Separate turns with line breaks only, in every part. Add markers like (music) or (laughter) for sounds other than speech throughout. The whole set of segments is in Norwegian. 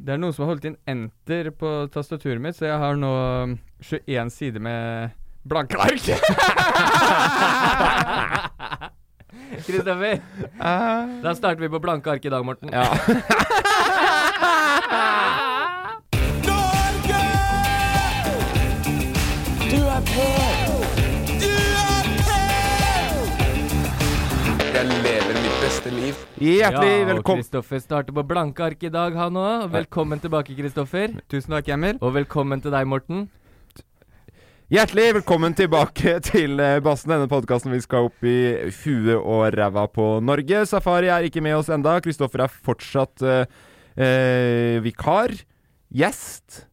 Det er noen som har holdt inn enter på tastaturet mitt, så jeg har nå um, 21 sider med blanke ark.
(laughs) Kristoffer,
Ah.
da starter vi på blanke ark i dag, Morten. (laughs)
Jeg lever mitt beste liv.
Hjertelig
Ja, og
velkommen.
Kristoffer starter på blanke ark i dag, han òg. Velkommen tilbake, Kristoffer.
Tusen takk, Emil.
Og velkommen til deg, Morten.
Hjertelig velkommen tilbake (laughs) til eh, Bassen, denne podkasten vi skal opp i huet og ræva på Norge. Safari er ikke med oss enda. Kristoffer er fortsatt eh, eh, vikar. Gjest.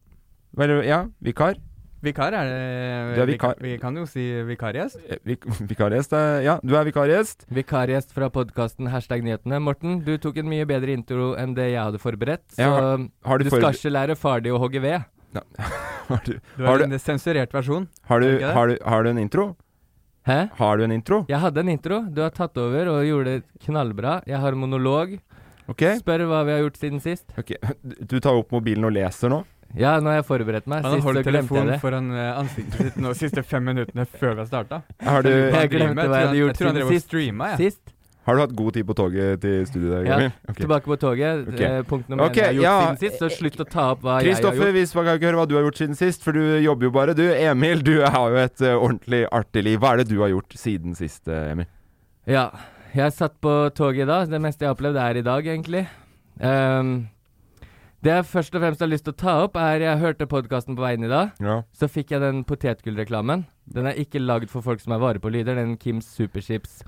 Vel, ja, vikar.
Vikar er det
Du er vikar.
Vi, vi kan jo si vikargjest.
Eh, Vik (laughs) vikargjest, eh, ja. Du er vikargjest.
Vikargjest fra podkasten Hashtag nyhetene. Morten, du tok en mye bedre intro enn det jeg hadde forberedt. Så um,
Ja, har- har
du,
du (laughs) forber-
skal ikke lære far di å hogge ved.
Har du,
Du
har
har
du,
en sensurert versjon.
har du,
ikke det?
har du, har du en intro?
Hæ?
Har du en intro?
Jeg hadde en intro. Du har tatt over og gjorde det knallbra. Jeg har monolog.
Ok.
Spør hva vi har gjort siden sist.
ok. Du tar opp mobilen og leser nå?
Ja, nå har jeg forberedt meg.
Han har
Sist så
holdt
glemte jeg
telefonen
det.
foran eh, ansiktet sitt nå de siste fem minuttene før vi har starta.
Har du,
Jeg glemte hva jeg hadde gjort
tror
siden
han drev og
sist.
streama, jeg.
Sist,
har du hatt god tid på toget til studiet i dag,
Ja,
Emil? Ok.
tilbake på toget.
Ok.
eh, Punkt nummer én
Ok,
jeg har gjort
ja.
siden sist, så slutt å ta opp hva jeg har
Kristoffer,
gjort.
vi skal ikke høre hva du har gjort siden sist, for du jobber jo bare. Du, Emil, du har jo et eh, ordentlig artig liv. Hva er det du har gjort siden sist, eh, Emil?
Ja, jeg satt på toget i dag. Det meste jeg har opplevd, er i dag, egentlig. Ehm, det jeg først og fremst har lyst til å ta opp, er jeg hørte podkasten på veien i dag.
Ja.
Så fikk jeg den potetgullreklamen. Den er ikke lagd for folk som er vare på lyder. Den Kims Superchips.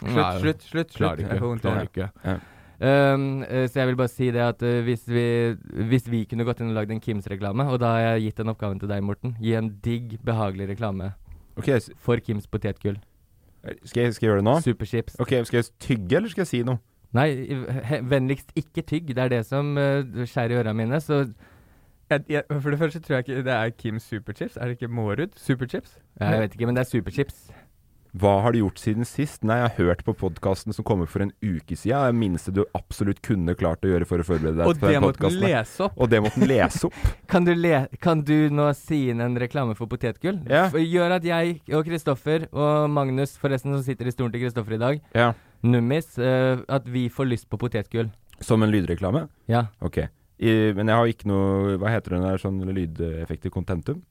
Slutt, slutt, slutt.
Klarer
slutt.
det
Jeg får
ikke.
vondt i
Klarer
øret.
det ikke. Ehm, eh, så jeg vil bare si det at eh, hvis, vi, hvis vi kunne gått inn og lagd en Kims-reklame, og da har jeg gitt den oppgaven til deg, Morten, gi en digg, behagelig reklame
Ok, s-
for Kims potetgull.
skal jeg, skal jeg gjøre det nå?
Superchips.
Ok, Skal jeg tygge, eller skal jeg si noe?
Nei, i- he, vennligst ikke tygg. Det er det som eh, skjærer i øra mine. Så
Jeg, jeg, for det første tror jeg ikke det er Kim Superchips. Er det ikke Mårud Superchips?
jeg vet ikke, men det er superchips.
Hva har du gjort siden sist? Nei, jeg har hørt på podkasten som kom ut for en uke siden. Det er Det minste du absolutt kunne klart å gjøre for å forberede deg
Og
til
det
den
måtte
podcasten
du
her.
lese opp.
Og det måtte den lese opp.
(laughs)
Kan du, le, kan du nå si inn en reklame for potetgull?
Ja.
F- Gjør at jeg og Kristoffer og Magnus, forresten, som sitter i stolen til Kristoffer i dag,
Ja.
Nummis, eh, at vi får lyst på potetgull.
Som en lydreklame?
Ja.
Ok. I, men jeg har ikke noe Hva heter den der sånn lydeffekter? Contentum?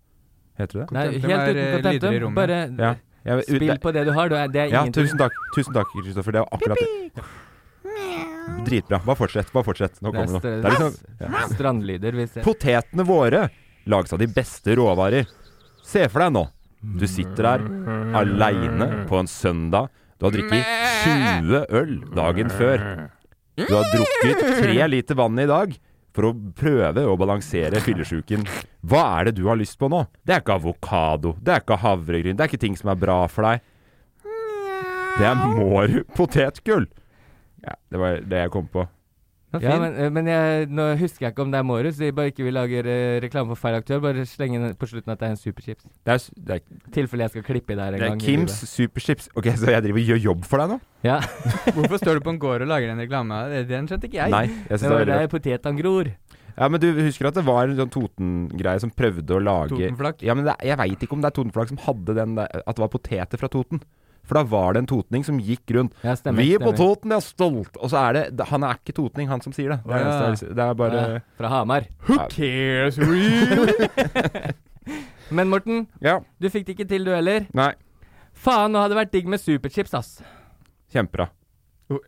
Heter det det?
Nei,
Contentum
helt
er,
uten
eh, lyder i
kontentum.
rommet.
Bare
Ja. Jeg,
spill
det-
på det du har. Du er, det er
Ja,
ingenting.
tusen takk, tusen takk, Kristoffer. Det var akkurat det. Dritbra. Bare fortsett. bare fortsett. Nå
Det er
kommer det noe.
stra-
Det er liksom, ja.
Strandlyder, hvis jeg
Potetene våre lages av de beste råvarer. Se for deg nå. Du sitter der aleine på en søndag. Du har drukket 20 øl dagen før. Du har drukket tre liter vann i dag for å prøve å balansere fyllesyken. Hva er det du har lyst på nå? Det er ikke avokado, det er ikke havregryn, det er ikke ting som er bra for deg. Det er Mårud potetgull. Ja, det var det jeg kom på.
Det er
Ja,
fin.
men, eh, men jeg, nå husker jeg ikke om det er Mårus. Jeg bare ikke vil lage eh, reklame for feil aktør. Bare slenge inn på slutten at det er en superchips.
Det er, s- det er,
I tilfelle jeg skal klippe i der en
det er
gang. i
Kims
livet.
Superchips. Ok, så jeg driver og gjør jobb for deg nå?
Ja.
Hvorfor står du på en gård og lager en reklame? Det- Den skjønte ikke jeg.
Nei. jeg
Det
synes det
var
er veldig
der potetene gror.
rart. Ja, Men du husker at det var en sånn Toten-greie som prøvde å lage
Totenflak.
Ja, men det, er- Jeg veit ikke om det er Totenflak som hadde den der, at det var poteter fra Toten. For da var det en totning som gikk rundt.
Ja, stemmer.
Vi på
stemmer.
Toten er stolt! Og så er det det- Han er ikke totning, han som sier det. Det er,
Ja.
eneste jeg vil si. det er bare
Ja, fra Hamar.
Who
cares, real?
(laughs) Men Morten,
Ja.
du fikk det ikke til du heller.
Nei.
Faen, nå hadde det vært digg med superchips, ass.
Kjempebra.
Jo.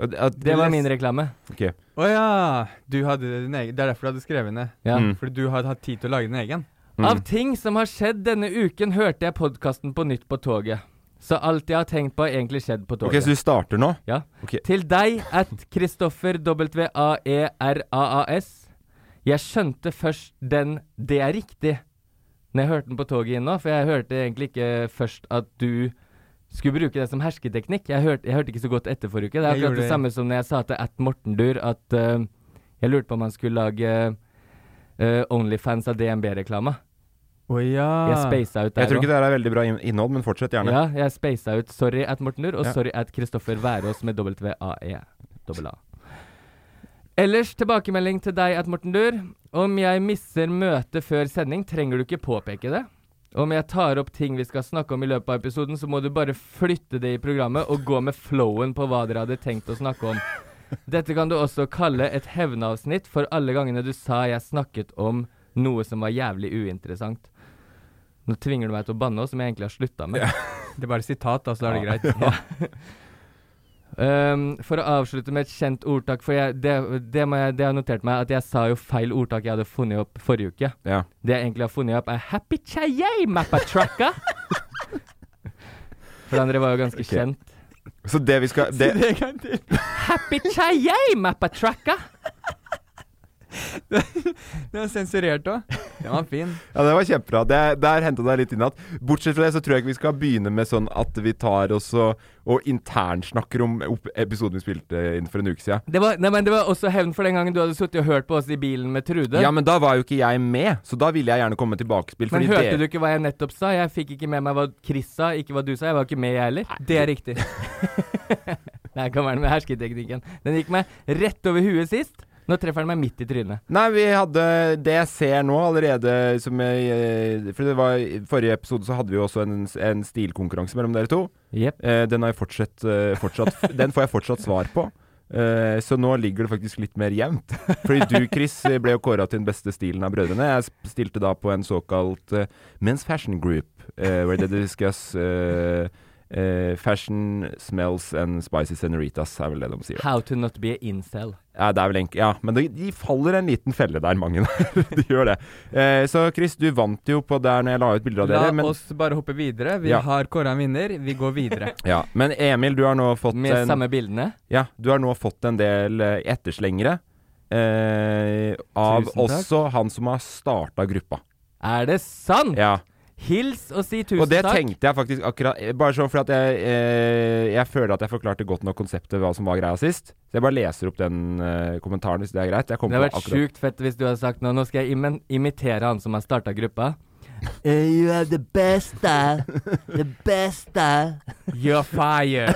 At- at-
Det var min reklame.
Ok.
Å ja. Du hadde din egen. Det er derfor du hadde skrevet ned.
Ja.
Mm.
Fordi du hadde hatt tid til å lage din egen.
Av ting som har skjedd denne uken, hørte jeg podkasten på nytt på toget. Så alt jeg har tenkt på, har egentlig skjedd på
Ok,
toget.
så du starter nå?
Ja.
Ok.
Til deg at Kristoffer E W-A-E-R-A-A-S. Jeg skjønte først den Det er riktig når jeg hørte den på toget inn nå, for jeg hørte egentlig ikke først at du skulle bruke det som hersketeknikk. Jeg hørte, jeg hørte ikke så godt etter forrige uke. Det er
Jeg
akkurat
gjorde
det samme som når jeg sa til at Mortendur at eh, jeg lurte på om han skulle lage eh, Onlyfans av DNB-reklame.
Å ja.
Jeg
Ah.
spasa ut der
Jeg tror
nå.
ikke det her er veldig bra inn- innhold, men fortsett gjerne.
Ja, jeg spasa ut 'sorry at Mortenur' og
Ja.
'sorry at Kristoffer Værås' med W-A-E. Dobbel E, A. Ellers tilbakemelding til deg at Mortendur. Om jeg misser møtet før sending, trenger du ikke påpeke det. Om jeg tar opp ting vi skal snakke om i løpet av episoden, så må du bare flytte det i programmet og gå med flowen på hva dere hadde tenkt å snakke om. Dette kan du også kalle et hevnavsnitt for alle gangene du sa jeg snakket om noe som var jævlig uinteressant. Nå tvinger du meg til å banne, som jeg egentlig har slutta med.
(laughs) Det er bare sitat, da, så da er
(laughs)
det greit.
Um, for å avslutte med et kjent ordtak, for jeg, det, det, må jeg, det har jeg notert meg at jeg sa jo feil ordtak jeg hadde funnet opp forrige uke.
Ja.
Det jeg egentlig har funnet opp, er 'Happy Chayay
(laughs)
Mappatracka'. for det andre var jo ganske kjent.
Så det vi
(laughs)
skal det,
Det kan til.
Happy Chayay
(laughs)
Mappatracka!
Den er sensurert òg. Den var fin.
Ja, det var kjempebra. Det, der henta deg litt inn igjen. Bortsett fra det, så tror jeg ikke vi skal begynne med sånn at vi tar oss og, og internsnakker om op- episoden vi spilte inn for en uke siden.
Det var, nei, men det var også hevn for den gangen du hadde sittet og hørt på oss i bilen med Trude.
Ja, men da var jo ikke jeg med, så da ville jeg gjerne komme tilbakespill.
men
fordi
hørte
det-
du ikke hva jeg nettopp sa? Jeg fikk ikke med meg hva Chris sa, ikke hva du sa. Jeg var ikke med, jeg heller.
Det er riktig.
(laughs) Nei, kan være den med hersketeknikken. Den gikk meg rett over huet sist. Nå treffer den meg midt i trynet.
Nei, vi hadde det jeg ser nå allerede som jeg, eh, For det var i forrige episode så hadde vi jo også en, en stilkonkurranse mellom dere to.
Jepp.
Eh, den, har jeg fortsatt, eh, fortsatt, den får jeg fortsatt svar på. Eh, så nå ligger det faktisk litt mer jevnt. (laughs) Fordi du, Chris, eh, ble jo kåra til den beste stilen av brødrene. Jeg sp- stilte da på en såkalt eh, Men's Fashion Group, eh, where they discuss eh, eh, fashion, smells and spicy senoritas, er vel det de sier.
How to not be a incel.
Ja, det er vel enk- ja men de, de faller en liten felle der, mange. der. (laughs) de gjør det. Eh, så Chris, du vant jo på der når jeg la ut bilder av
La
dere. Men,
oss bare hoppe videre. Vi
Ja.
har kåra en vinner. Vi går videre.
ja, men Emil, du har nå fått
Med
en,
samme bildene.
ja, du har nå fått en del eh, etterslengere. Eh, av
Tusen takk.
også han som har starta gruppa.
Er det sant?!
Ja.
Hils og si tusen
Og det
takk.
tenkte jeg faktisk akkurat eh, Bare sånn fordi at jeg, eh, jeg føler at jeg forklarte godt nok konseptet hva som var greia sist. Så jeg bare leser opp den eh, kommentaren hvis det er greit. Jeg kom
Det hadde vært
på akkurat-
sjukt fett hvis du hadde sagt nå Nå skal jeg imen- imitere han som har starta gruppa. Eh, you are the best, da. The best, eh. da.
You're fire.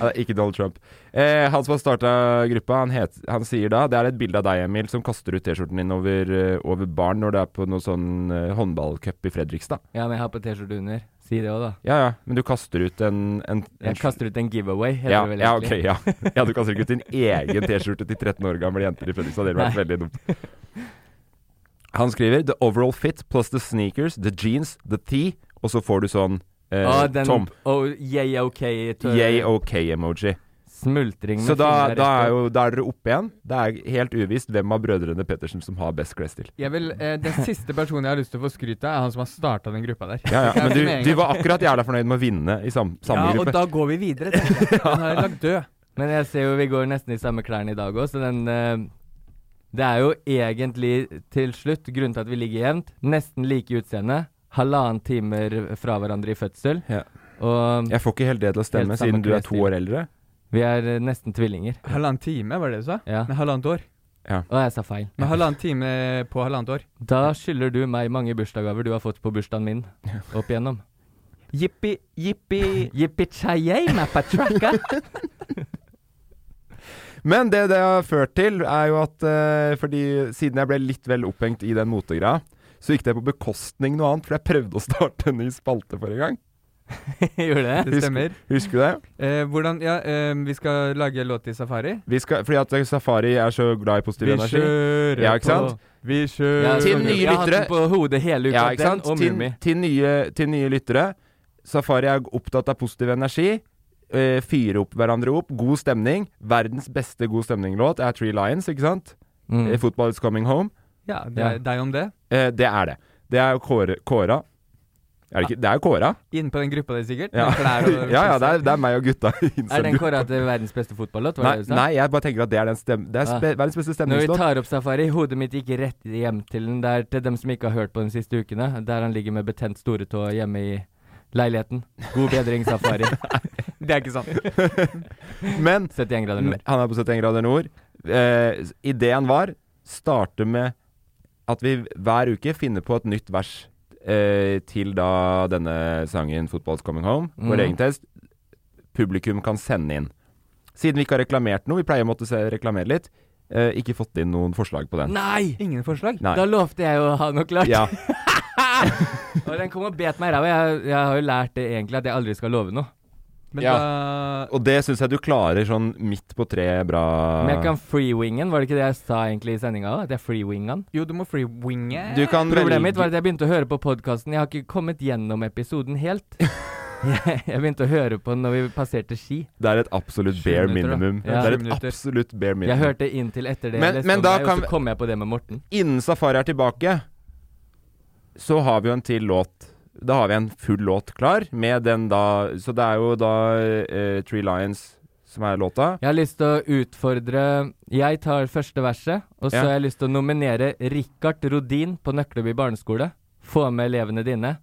Ja, det er ikke Donald Trump. Eh, han som har starta gruppa, han, het, han sier da Det er et bilde av deg, Emil, som kaster ut T-skjorten din over, eh, over barn når det er på noe sånn eh, håndballcup i Fredrikstad.
Ja, men jeg har på T-skjorte under. Si det òg, da.
Ja ja, men du kaster ut en, en, en
Jeg kaster ut en giveaway. heter
ja,
det vel
ja, ok,
egentlig.
ja. ja, du kaster
(laughs)
ikke ut din egen T-skjorte til 13 år gamle jenter i Fredrikstad. Det ville vært veldig dumt. Han skriver 'The overall fit plus the sneakers, the jeans, the tee', og så får du sånn eh,
Å, den
Tom.
oh, yeah, ok, tør-
Yay OK-emoji.
Smultring med
Så da,
fingre
da,
rett opp.
er jo, da er dere oppe igjen. Det er helt uvisst hvem av brødrene Pettersen som har best klesstil.
Jeg vil, eh, Den siste personen jeg har lyst til å få skryt av, er han som har starta den gruppa der.
Ja, ja. Men du,
Med en
du
gang.
var akkurat jævla fornøyd med å vinne i sam, samme
ja, og
gruppe.
da går vi videre. tenker
(laughs)
jeg. Han har jeg lagt død.
Men jeg ser jo vi går nesten i samme klærne i dag òg, så den eh, Det er jo egentlig til slutt grunnen til at vi ligger jevnt. Nesten like utseende. Halvannen timer fra hverandre i fødsel.
Ja.
Og
Jeg får ikke helt det til å stemme,
Helt samme
siden du er to
klesstil.
år eldre.
vi er eh, nesten tvillinger.
Halvannen time, var det du sa?
Ja.
Nei, halvannet år.
Og jeg sa feil.
Men halvannen time på halvannet år.
Da skylder du meg mange bursdagsgaver du har fått på bursdagen min opp igjennom.
Jippi, jippi
Yippee-chayay,
(laughs)
mapatraka!
Men det det har ført til, er jo at eh, fordi siden jeg ble litt vel opphengt i den motegreia, så gikk det på bekostning noe annet, for jeg prøvde å starte en ny spalte forrige gang.
Gjorde det?
Det stemmer.
Husker du det?
Eh, hvordan Ja, eh, vi skal lage låt i Safari.
Vi skal, fordi at Safari er så glad i positiv energi.
kjører
Ja, ikke sant?
Vi
Ja,
kjører
Til
sånn.
nye
Jeg har hatt
lyttere.
den på hodet hele uka.
Ja, ikke sant?
Den og
Til,
Mummi.
til, nye, til nye lyttere. Safari er opptatt av positiv energi. eh, Fyre opp hverandre opp. God stemning. Verdens beste god stemning-låt er Tree Lions, ikke sant? Eh,
Mm.
Football is coming home.
Ja, det er
Ja.
deg om det.
Eh, det er det. Det er jo Kåre, Kåra. Er det ikke? Det er jo Kåra.
Inne på den gruppa di, sikkert.
Ja,
med klær og-
(laughs) ja, ja det, er, det er meg og gutta. i en
Er
sånn
den
gruppe.
kåra til verdens beste fotballåt? var
Nei,
det du sa?
nei, jeg bare tenker at det er den stem, Det er
Ah.
spe, verdens beste
Når vi
stemningslåt.
tar opp Safari, hodet mitt gikk rett hjem til den der til dem som ikke har hørt på de siste ukene, der han ligger med betent storetå hjemme i leiligheten. God bedring, Safari.
Det er ikke sant.
Men
71 grader
han
nord.
er på 71 grader nord. Eh, ideen var starte med at vi hver uke finner på et nytt vers eh, til da denne sangen 'Football's Coming Home', vår
Mm.
egen test. Publikum kan sende inn. Siden vi ikke har reklamert noe, vi pleier å måtte se, reklamere litt, eh, ikke fått inn noen forslag på den.
Nei!
Ingen forslag?
Nei.
Da lovte jeg å ha noe klart.
Ja.
Og den kom og bet meg i ræva. Jeg, jeg har jo lært det egentlig, at jeg aldri skal love noe.
Men eh,
Ja.
da
Og det syns jeg du klarer sånn midt på tre bra
Men jeg kan freewingen, var det ikke det jeg sa egentlig i sendinga òg? At jeg freewingan?
Jo, du må freewinge.
Du kan velge-
Problemet mitt var at jeg begynte å høre på podkasten. Jeg har ikke kommet gjennom episoden
(laughs)
helt. Jeg, jeg begynte å høre på den når vi passerte Ski.
Det er et absolutt
Sju
bare
minutter, da.
minimum.
Ja.
Det er
Sju
et
minutter.
absolutt bare minimum.
Jeg hørte inn til etter det.
Men-
jeg leste
men
om
da
deg,
kan
Og
vi-
så kom jeg på det med Morten.
Innen Safari er tilbake, så har vi jo en til låt. Da har vi en full låt klar, med den da Så det er jo da eh, Tree Lions som er låta.
Jeg har lyst til å utfordre Jeg tar første verset, og så
Ja.
har jeg lyst til å nominere Rikard Rodin på Nøkkelby barneskole. Få med elevene dine.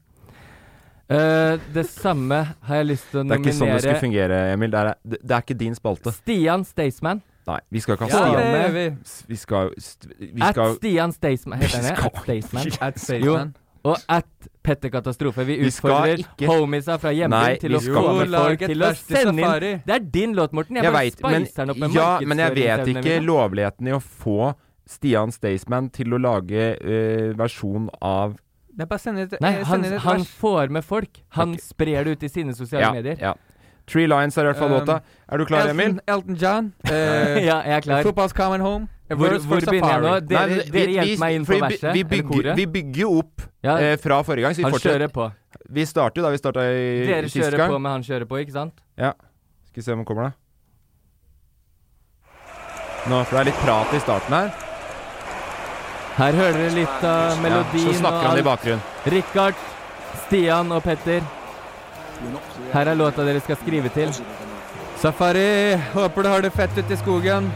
Eh, det samme har jeg lyst til å
Det er ikke sånn det skulle
nominere
fungere, Emil. Det er, det, det er ikke din spalte.
Stian Staysman.
Nei, vi skal ikke ha
Ja,
Stian.
det-
gjør Eh, vi.
S- Vi skal st- Vi
At
skal
Stian Staysman heter han det?
skal
At Staysman.
At
Jo.
Staysman.
Og at Petter Katastrofe. Vi
Vi skal
utfordrer
ikke-
homiesa fra
Nei,
hjembyen til
vi
å
skal
få
ikke.
med folk til å sende inn
Safari.
Det er din låt, Morten. Jeg,
Jeg
bare
veit, men,
spicer den opp med
ja, men jeg vet
markedsføringsevnene
ikke
mine.
lovligheten i å få Stian Staysman til å lage eh, versjon av
Det er bare å sende et,
Nei,
eh,
han,
sende et
han
vers.
får med folk. Han
Ok.
sprer det ut i sine sosiale medier.
ja. Tree Lions er i hvert fall
Um,
låta. Er du klar, Emil?
Elton, Elton John. eh,
(laughs) ja, jeg er klar.
Football's coming home.
Hvor,
Words for
hvor begynner jeg nå?
Safari.
Dere,
Nei, vi-
dere
vi-
hjelper meg inn
for
på
vi by-
verset.
Vi
eller
bygger,
koret.
vi bygger jo opp
Ja,
eh, fra forrige gang, så vi
han
fortsetter.
kjører på.
Vi starter jo da vi starta i
Dere
sist
kjører
gang.
på med han kjører på, ikke sant?
Ja. Skal vi se om den kommer, da. Nå, for det er litt prat i starten her.
Her hører dere litt av
Ja,
melodien
så snakker han i
og alt.
bakgrunnen.
Richard, Stian og Petter. Her er låta dere skal skrive til.
Safari, håper du har det fett ute i skogen.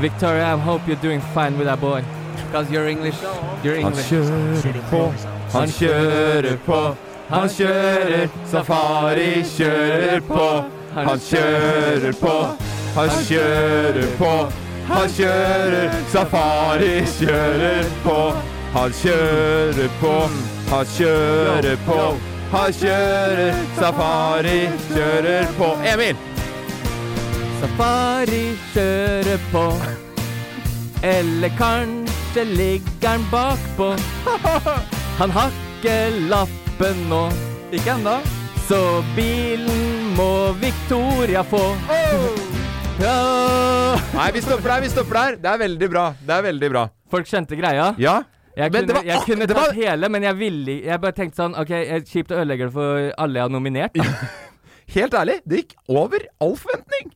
Victoria, I hope you're doing fine with that boy.
Because you're English. You're
Han
English.
kjører på, han kjører på, han kjører. Safari kjører på, han kjører på, han kjører på, han kjører. Safari kjører på, han kjører på, han kjører på, han kjører. Safari kjører på. Emil!
Safari kjører på. Eller kanskje ligger han
(laughs)
bakpå. Han har ikke lappen nå,
Ikke ennå.
så bilen må Victoria få. Ja.
Nei, vi stopper der, vi stopper der. Det er veldig bra. Det er veldig bra.
Folk skjønte greia.
Ja.
Jeg
Men det
kunne,
var-
jeg kunne
det var-
tatt hele, men jeg ville Jeg bare tenkte sånn OK, jeg- kjipt å ødelegge det for alle jeg har nominert.
Helt ærlig, det gikk over all forventning.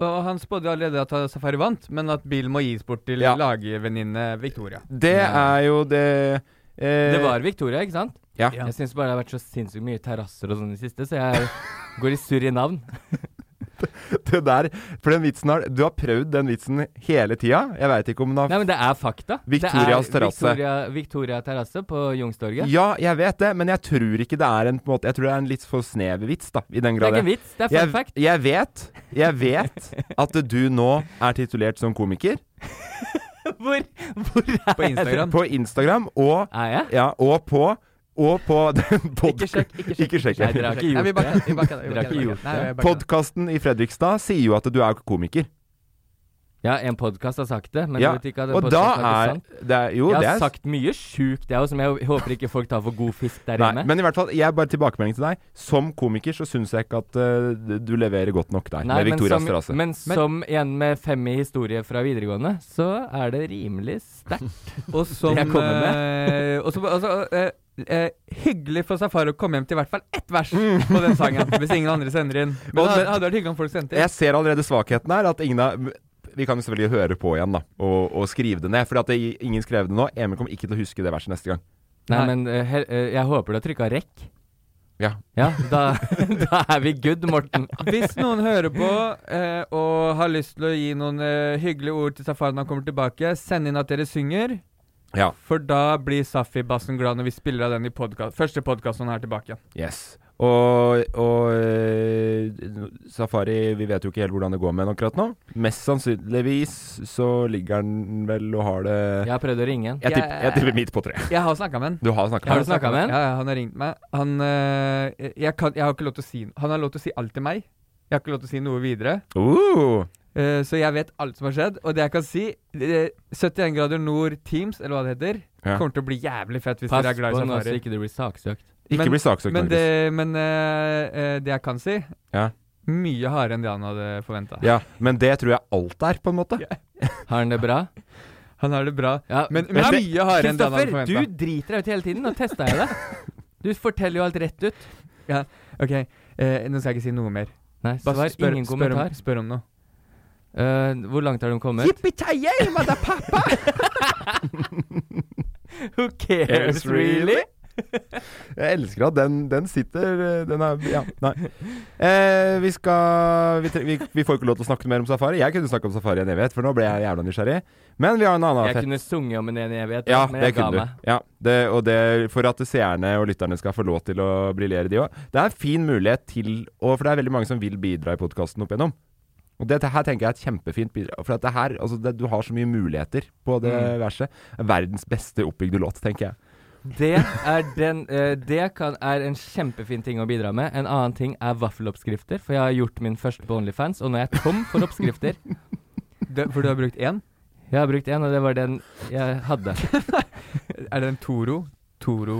Og han spådde jo allerede at Safari vant, men at bilen må gis bort til
Ja.
lagvenninne Victoria.
Det er jo det eh,
Det var Victoria, ikke sant?
Ja.
Jeg syns bare det har vært så sinnssykt mye terrasser og sånn i det siste, så jeg går i surr i navn.
(laughs) det der For den vitsen har Du har prøvd den vitsen hele tida. Jeg veit ikke om den har
Nei, men det er fakta.
Victorias
det er
terrasse.
Victoria, Victoria terrasse på Youngstorget.
Ja, jeg vet det, men jeg tror ikke det er en på en måte Jeg tror det er en litt for snever vits, da. I den
det
grad
er ikke en
jeg-
vits, det er fun
jeg,
fact. (laughs)
jeg vet Jeg vet at du nå er titulert som komiker
Hvor, hvor er
På Instagram.
på Instagram og,
Er jeg?
ja, og på og på (laughs) den
Ikke sjekk, ikke sjekk.
Ikke sjekk.
Nei, dere har ikke
Nei, vi
gjort
bare
det.
kødder, vi bare kødder, vi
Dere har
bare
ikke gjort
kødder. Nei,
det.
vi bare kødder.
Podkasten i Fredrikstad sier jo at du er komiker.
Ja, en podkast har sagt det, men
Ja,
jeg vet ikke at en
Og da
podcast har
er,
sagt sant.
det er Jo,
jeg
det
har
er
sagt mye sjukt, jeg òg, som jeg håper ikke folk tar for god fisk der
Nei,
inne.
men i hvert fall, jeg bare tilbakemelding til deg. Som komiker så syns jeg ikke at eh, du leverer godt nok der,
Nei,
med Victorias
men,
terrasse.
som, men som en med fem i historie fra videregående, så er det rimelig sterkt.
(laughs) Og som
Jeg kommer
eh, og som- altså, eh, eh, Hyggelig for Safari å komme hjem til i hvert fall ett vers
Mm.
på den sangen, hvis ingen andre sender
(laughs)
inn. Men
Og-
det hadde vært hyggelig om folk sendte inn.
Jeg ser allerede svakheten her. At ingen av Vi kan jo selvfølgelig høre på igjen, da, og, og skrive det ned. For at det, ingen skrev det nå. Emil kommer ikke til å huske det verset neste gang.
Nei,
Nei.
men eh, he, eh, jeg håper du har trykka rekk.
Ja.
Ja, da, (laughs) da er vi good, Morten.
Hvis noen hører på eh, og har lyst til å gi noen eh, hyggelige ord til Safari når han kommer tilbake, send inn at dere synger.
Ja.
For da blir Safi-bassen glad når vi spiller av den i podkast. Første podkast når han er tilbake.
Yes. Og, og eh, Safari Vi vet jo ikke helt hvordan det går med den akkurat nå. Mest sannsynligvis så ligger den vel og har det
Jeg har prøvd å ringe en.
jeg, tipper, jeg tipper midt på tre.
Jeg har snakka med han.
Du har snakka
Har
med
du
den?
snakket med han?
Ja, ja, han har ringt meg. Han eh, jeg, kan, jeg har ikke lov til å si Han har lov til å si alt til meg. Jeg har ikke lov til å si noe videre.
Uh,
Eh, så jeg vet alt som har skjedd. Og det jeg kan si eh, 71 grader nord Teams, eller hva det heter,
Ja.
kommer til å bli jævlig fett hvis
Pass
dere er glad
på
i
nå så
safari.
ikke du blir saksøkt.
ikke
Men-
bli saksøkt,
Men,
Norges.
det, men eh, eh, det jeg kan si
Ja.
Mye hardere enn det han hadde forventa.
Ja, men det tror jeg alt er, på en måte.
Har han det bra?
Han har det bra.
Ja,
Men
Men det-
mye hardere enn det han
Kristoffer,
hadde
du
forventa.
driter deg ut hele tiden. Nå testa jeg det. Du forteller jo alt rett ut.
Ok, eh, nå skal jeg ikke si noe mer.
(laughs) Nei,
Bare
svar
spør,
ingen
spør, om,
kommentar.
spør om noe.
Eh, hvor langt har de kommet?
Yippee-ki-yay,
(laughs)
motherpappa!
Who cares, really?
(laughs) Jeg elsker at den, den sitter eh, Den er Ja, nei. Eh, vi skal vi, tre- vi, vi får ikke lov til å snakke mer om safari. Jeg kunne snakke om safari i en evighet, for nå ble jeg jævla nysgjerrig. Men vi har en annen
Jeg
fett
kunne sunget om en en evighet,
ja,
men
det
jeg ga
kunne
meg.
du. Ja, det, og det for at seerne og lytterne skal få lov til å briljere, de òg. Det er en fin mulighet til å For det er veldig mange som vil bidra i podkasten opp igjennom. Og dette her tenker jeg er et kjempefint bidrag. For at det her, altså det, du har så mye muligheter på det verset. Verdens beste oppbygde låt, tenker jeg.
Det, er, den, eh, det kan, er en kjempefin ting å bidra med. En annen ting er vaffeloppskrifter, for jeg har gjort min første på Onlyfans, og nå er jeg tom for oppskrifter.
(laughs) Det- For du har brukt én?
Jeg har brukt en, og det var den jeg hadde.
(laughs) Er det en Toro? Toro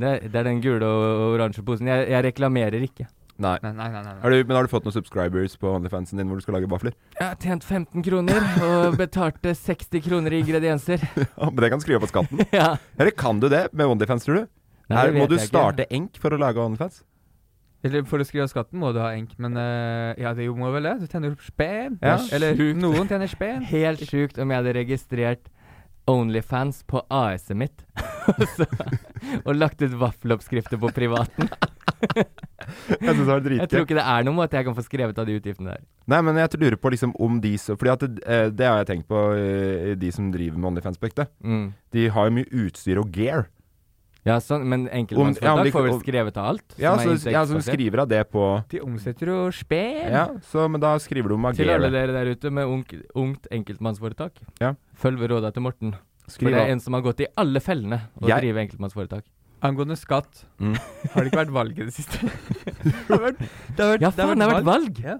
Det, er- det er den gule og og oransje posen. Jeg, jeg reklamerer ikke.
Nei.
Nei, nei, nei. nei, nei.
Har du, men har du fått noen subscribers på OnlyFansen din hvor du skal lage (laughs) vafler?
Jeg har tjent 15 kroner og betalte 60 kroner i
(laughs)
ingredienser.
Ja, men det kan du skrive på skatten. (laughs)
Ja.
Eller kan du det med OnlyFans, tror du?
Nei,
her
det
må
vet
du
jeg ikke.
starte enk for å lage OnlyFans.
Eller For å skrive av skatten må du ha enk, men eh, ja, det må vel det? Du tjener jo spen.
Ja.
Eller
Sjukt.
noen tjener spen.
Helt sjukt om jeg hadde registrert Onlyfans på AS-et mitt (laughs) Og så- og lagt ut vaffeloppskrifter på privaten.
(laughs) Jeg synes det var
Jeg tror ikke det er noen måte jeg kan få skrevet av de utgiftene der.
Nei, men jeg lurer på liksom om de som Fordi at det, eh, det har jeg tenkt på, eh, de som driver med OnlyFans på ekte.
Mm.
De har jo mye utstyr og gear.
Ja, sånn, men
Om- ja, om
enkeltmannsforetak
de-
får vel
om-
skrevet av alt?
Ja,
som er
så, ja, som
inntektsbasert.
skriver av det på
De omsetter jo spen.
Ja, så, men da skriver du om
Til alle
gearet.
dere der ute med ung, ungt enkeltmannsforetak,
Ja.
følg råda til Morten. For
Skriv
det er
av.
en som har gått i alle fellene å
Jeg-
drive enkeltmannsforetak.
Angående skatt,
Mm.
(laughs) har det ikke vært valg i det siste? (laughs) det har vært, det har vært,
Ja, faen, det har vært valg!
Ja.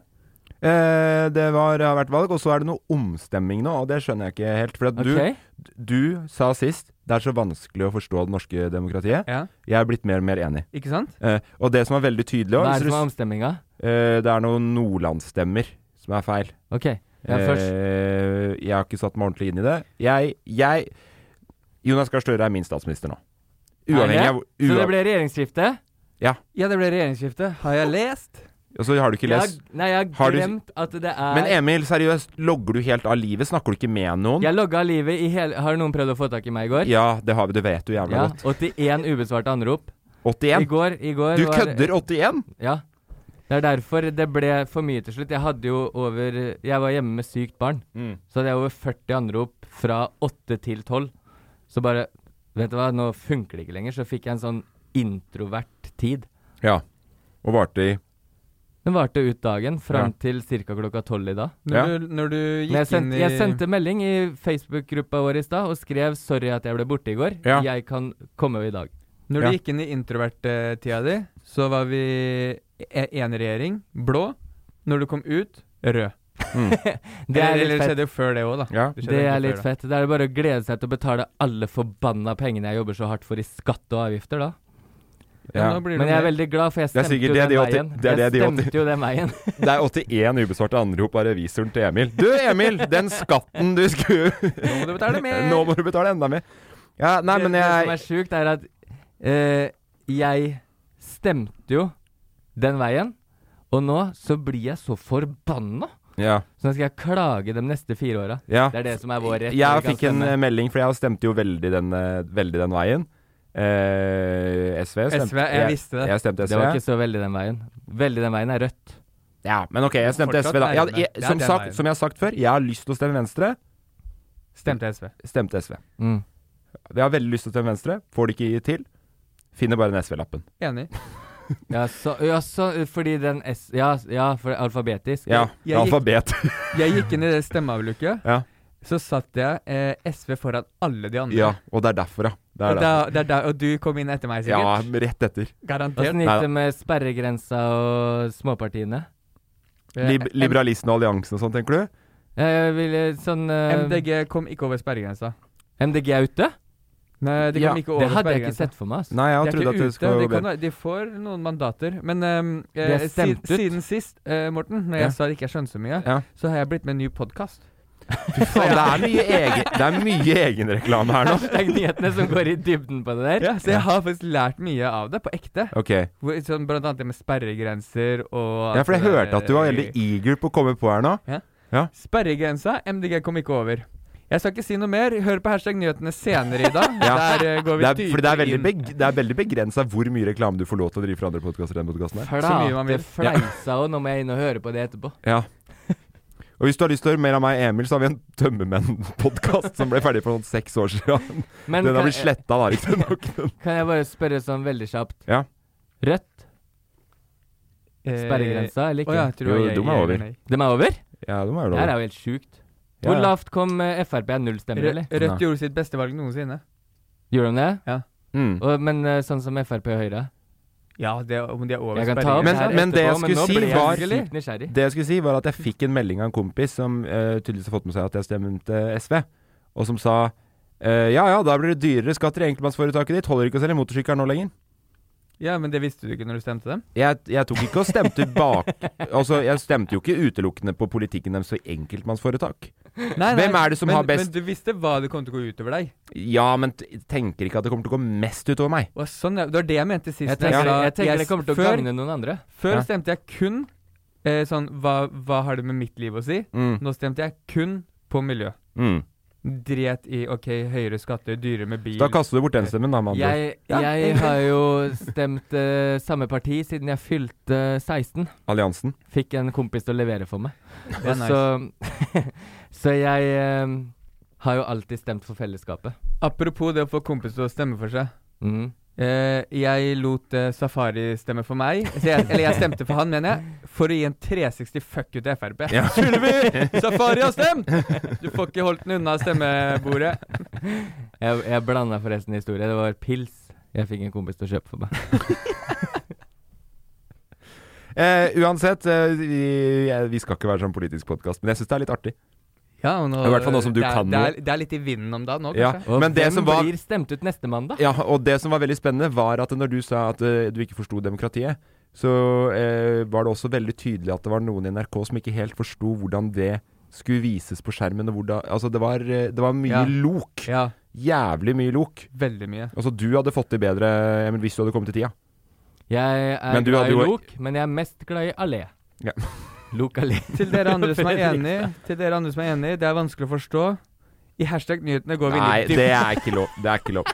Eh, det var, har vært valg, og så er det noe omstemming nå, og det skjønner jeg ikke helt. For at
Ok?
du, du sa sist det er så vanskelig å forstå det norske demokratiet.
Ja,
Jeg er blitt mer og mer enig.
ikke sant?
Eh, og det som er veldig tydelig
Hva
også,
er det
hvis
som er
du-
omstemminga?
eh, Det er noen nordlandsstemmer som er feil.
Ok, ja, først.
Eh, jeg har ikke satt meg ordentlig inn i det. Jeg, jeg Jonas Gahr Støre er min statsminister nå. Uavhengig av
Så det
uav-
ble regjeringsskifte?
Ja, det ble regjeringsskifte. Har jeg lest?
Og så har du ikke
Jeg
lest
har- Nei, jeg
Har
har
du-
glemt at det er
Men Emil, seriøst, logger du helt av livet? Snakker du ikke med noen?
Jeg logga livet i hele Har noen prøvd å få tak i meg i går?
Ja, det har vi, det vet du jævla
Ja,
godt.
81 ubesvarte anrop. I
81?
går, i går
Du
var-
kødder 81?
Ja. Det er derfor det ble for mye til slutt. Jeg hadde jo over Jeg var hjemme med sykt barn.
Mm.
Så hadde jeg over 40 anrop fra 8 til 12. Så bare Vet du hva, nå funker det ikke lenger. Så fikk jeg en sånn introvert tid.
Ja. Og varte i
Den varte ut dagen, fram
Ja.
til ca. klokka tolv i dag.
Når,
Ja.
du, når du
Men jeg
gikk inn
sendte,
i
jeg sendte melding i Facebook-gruppa vår i stad og skrev 'sorry at jeg ble borte i går'.
Ja.
Jeg kan komme i dag.
Når
Ja.
du gikk inn i introvert-tida di, så var vi e- en regjering, blå. Når du kom ut, rød.
Det er
eller,
litt
eller
fett.
skjedde jo før det òg, da.
Ja.
skjedde
Det er
egentlig
litt
før
fett. Det er bare å glede seg til å betale alle forbanna pengene jeg jobber så hardt for i skatt og avgifter, da.
Ja,
Ja.
nå blir det
Men jeg er
mer.
veldig glad, for jeg
Det er
stemte
sikkert
jo den
det de åtti-
veien.
det er det
jeg
de åtti-
stemte jo den veien. (laughs)
Det er 81 ubesvarte anrop av revisoren til Emil. Du, Emil! Den skatten du skulle
Nå må du
(laughs)
betale mer!
Nå må du betale enda mer. Ja, nei, men
Det som
jeg
er sjukt, er at eh, jeg stemte jo den veien, og nå så blir jeg så forbanna!
Ja.
Så nå skal jeg klage de neste fire åra.
ja.
Det er det som er vår rett. når
Jeg
vi kan
fikk en
stemme.
eh, melding, for jeg stemte jo veldig den, eh, veldig den veien. Eh, SV stemte
SV, jeg visste det.
Jeg stemte SV.
Det var ikke så veldig den veien. Veldig den veien er rødt.
Ja, men ok, jeg stemte
Fortsatt
SV da.
nærme.
Jeg, hadde- jeg,
Det er
som,
den
sagt,
veien.
som jeg har sagt før, jeg har lyst til å stemme Venstre.
Stemte SV.
Stemte SV.
Mm.
Jeg har veldig lyst til å stemme Venstre. Får det ikke til. Finner bare den SV-lappen.
Enig.
Ja, så, ja, så, fordi den S... Ja, ja for alfabetisk.
Ja,
Jeg gikk-
alfabet. (laughs)
Jeg gikk inn i det stemmeavlukket.
Ja.
Så satt jeg eh, SV foran alle de andre.
ja, og det er derfor, ja. Det
Og,
er
da,
derfor.
det er da, og du kom inn etter meg,
Ja,
sikkert?
rett etter.
Garantert.
Åssen gikk
Neida.
det med sperregrensa og småpartiene?
Eh,
Lib liberalisten og alliansen og sånn, tenker du?
Jeg ville sånn eh,
MDG kom ikke over sperregrensa.
MDG er ute?
Nei, de
Ja,
kom ikke over
Det hadde jeg ikke
sperregrensa.
sett for meg. (laughs) ass.
Nei, jeg
De er
trodde at
ikke
det
ute.
skulle
De,
gå
kan,
bedre.
de får noen mandater. Men eh,
er
eh, siden,
stemt ut.
siden sist, eh, Morten, når jeg
Ja.
sa det ikke er skjønn så mye,
Ja.
så har jeg blitt med en ny podkast.
Faen, det er mye egen- det er mye egenreklame her nå.
Det er nyhetene som går i dybden på det der.
Ja, så jeg har faktisk lært mye av det, på ekte.
Ok.
Hvor, sånn, blant annet det med sperregrenser og
Ja, for jeg hørte at du var
eh,
veldig eager på å komme på her nå.
Sperregrensa, MDG kom ikke over. Jeg skal ikke si noe mer. Hør på hashtag nyhetene senere i dag.
(laughs) Ja.
Der eh, går vi
Det er,
dypere
fordi det er veldig,
inn.
beg det er veldig begrensa hvor mye reklame du får lov til å drive for andre podkaster enn podkasten her.
Så mye man vil.
Flate fleisa, og nå må jeg inn og høre på det etterpå.
Ja. Og hvis du har lyst til å høre mer av meg og Emil, så har vi en Tømmermenn-podkast som ble ferdig for noen seks år siden.
Men
Den har
kan,
blitt sletta da, liksom. riktignok.
kan jeg bare spørre sånn veldig kjapt?
Ja.
Rødt?
Eh,
Sperregrensa eller
Å
ikke?
ja, jeg tror
Jo,
jeg,
de er
jeg-
over.
nei.
De er over?
Ja, det må jeg
Det her er
love.
jo helt sjukt. Hvor
Ja, ja.
lavt kom eh, Frp? Null stemmer, eller?
Rødt
Nei.
gjorde sitt beste valg noensinne.
Gjorde de det?
Mm.
Og, men eh, sånn som Frp og Høyre?
Ja, det, om de er over
Jeg kan ta opp
Men-
det her
men det jeg
etterpå, men
skulle
nå
si
ble
var-
jeg sykt nysgjerrig.
Det jeg skulle si, var at jeg fikk en melding av en kompis som eh, tydeligvis har fått med seg at jeg stemte SV, og som sa eh, ja ja, da blir det dyrere skatter i enkeltmannsforetaket ditt, holder ikke å selge motorsykkel nå lenger.
Ja, men det visste du ikke når du stemte dem?
Jeg, jeg tok ikke og stemte bak Altså, jeg stemte jo ikke utelukkende på politikken deres for enkeltmannsforetak.
Nei,
Hvem er det som
men,
har
Men
best-
du visste hva det kom til å gå utover deg.
Ja, men t tenker ikke at det kommer til å gå mest utover meg.
Og sånn, ja, det var det jeg mente sist.
Jeg
når
tenker,
sa-
jeg tenker det
jeg-
kommer til å
før,
gagne noen andre.
Før
Ja.
stemte jeg kun eh, sånn hva, hva har det med mitt liv å si?
Mm.
Nå stemte jeg kun på miljø.
Mm.
Dret i ok, høyere skatter, dyrere med bil.
Da kaster du bort den stemmen, da, med andre ord.
Jeg, jeg har jo stemt eh, samme parti siden jeg fylte 16.
Alliansen.
Fikk en kompis til å levere for meg.
Det er nice.
Så, (laughs) så jeg eh, har jo alltid stemt for fellesskapet.
Apropos det å få kompiser til å stemme for seg.
Mm.
Eh, jeg lot eh, Safari stemme for meg. Så jeg, eller jeg stemte for han, mener jeg. For å gi en 360 fuck you til Frp.
Ja.
Sylvi! Safari har stemt! Du får ikke holdt den unna stemmebordet.
Jeg, jeg blanda forresten historie. Det var pils jeg fikk en kompis til å kjøpe for meg.
(laughs) Eh, uansett, eh, vi, jeg- vi skal ikke være sånn politisk podkast, men jeg syns det er litt artig.
Ja, og nå,
I hvert fall nå som du
det er,
kan
det
noe.
er, det er litt i vinden om dagen nå,
Ja.
kanskje.
Og
Men det
hvem
som var
blir stemt ut neste mandag?
Ja, og det som var veldig spennende, var at når du sa at eh, du ikke forsto demokratiet, så eh, var det også veldig tydelig at det var noen i NRK som ikke helt forsto hvordan det skulle vises på skjermen. Og hvordan, altså det var, eh, det var mye
Ja.
lok.
Ja,
Jævlig mye lok.
veldig mye.
Altså, du hadde fått det bedre Emil, hvis du hadde kommet i tida.
Jeg er
Men du
glad i
hadde jo-
Lok, men jeg er mest glad i Allé.
Ja.
Lok Allé.
Til dere andre som er enig, til dere andre som er enig, det er vanskelig å forstå. I hashtag nyhetene går vi
Nei,
litt
det
dypt.
er ikke lov. Det er ikke lov.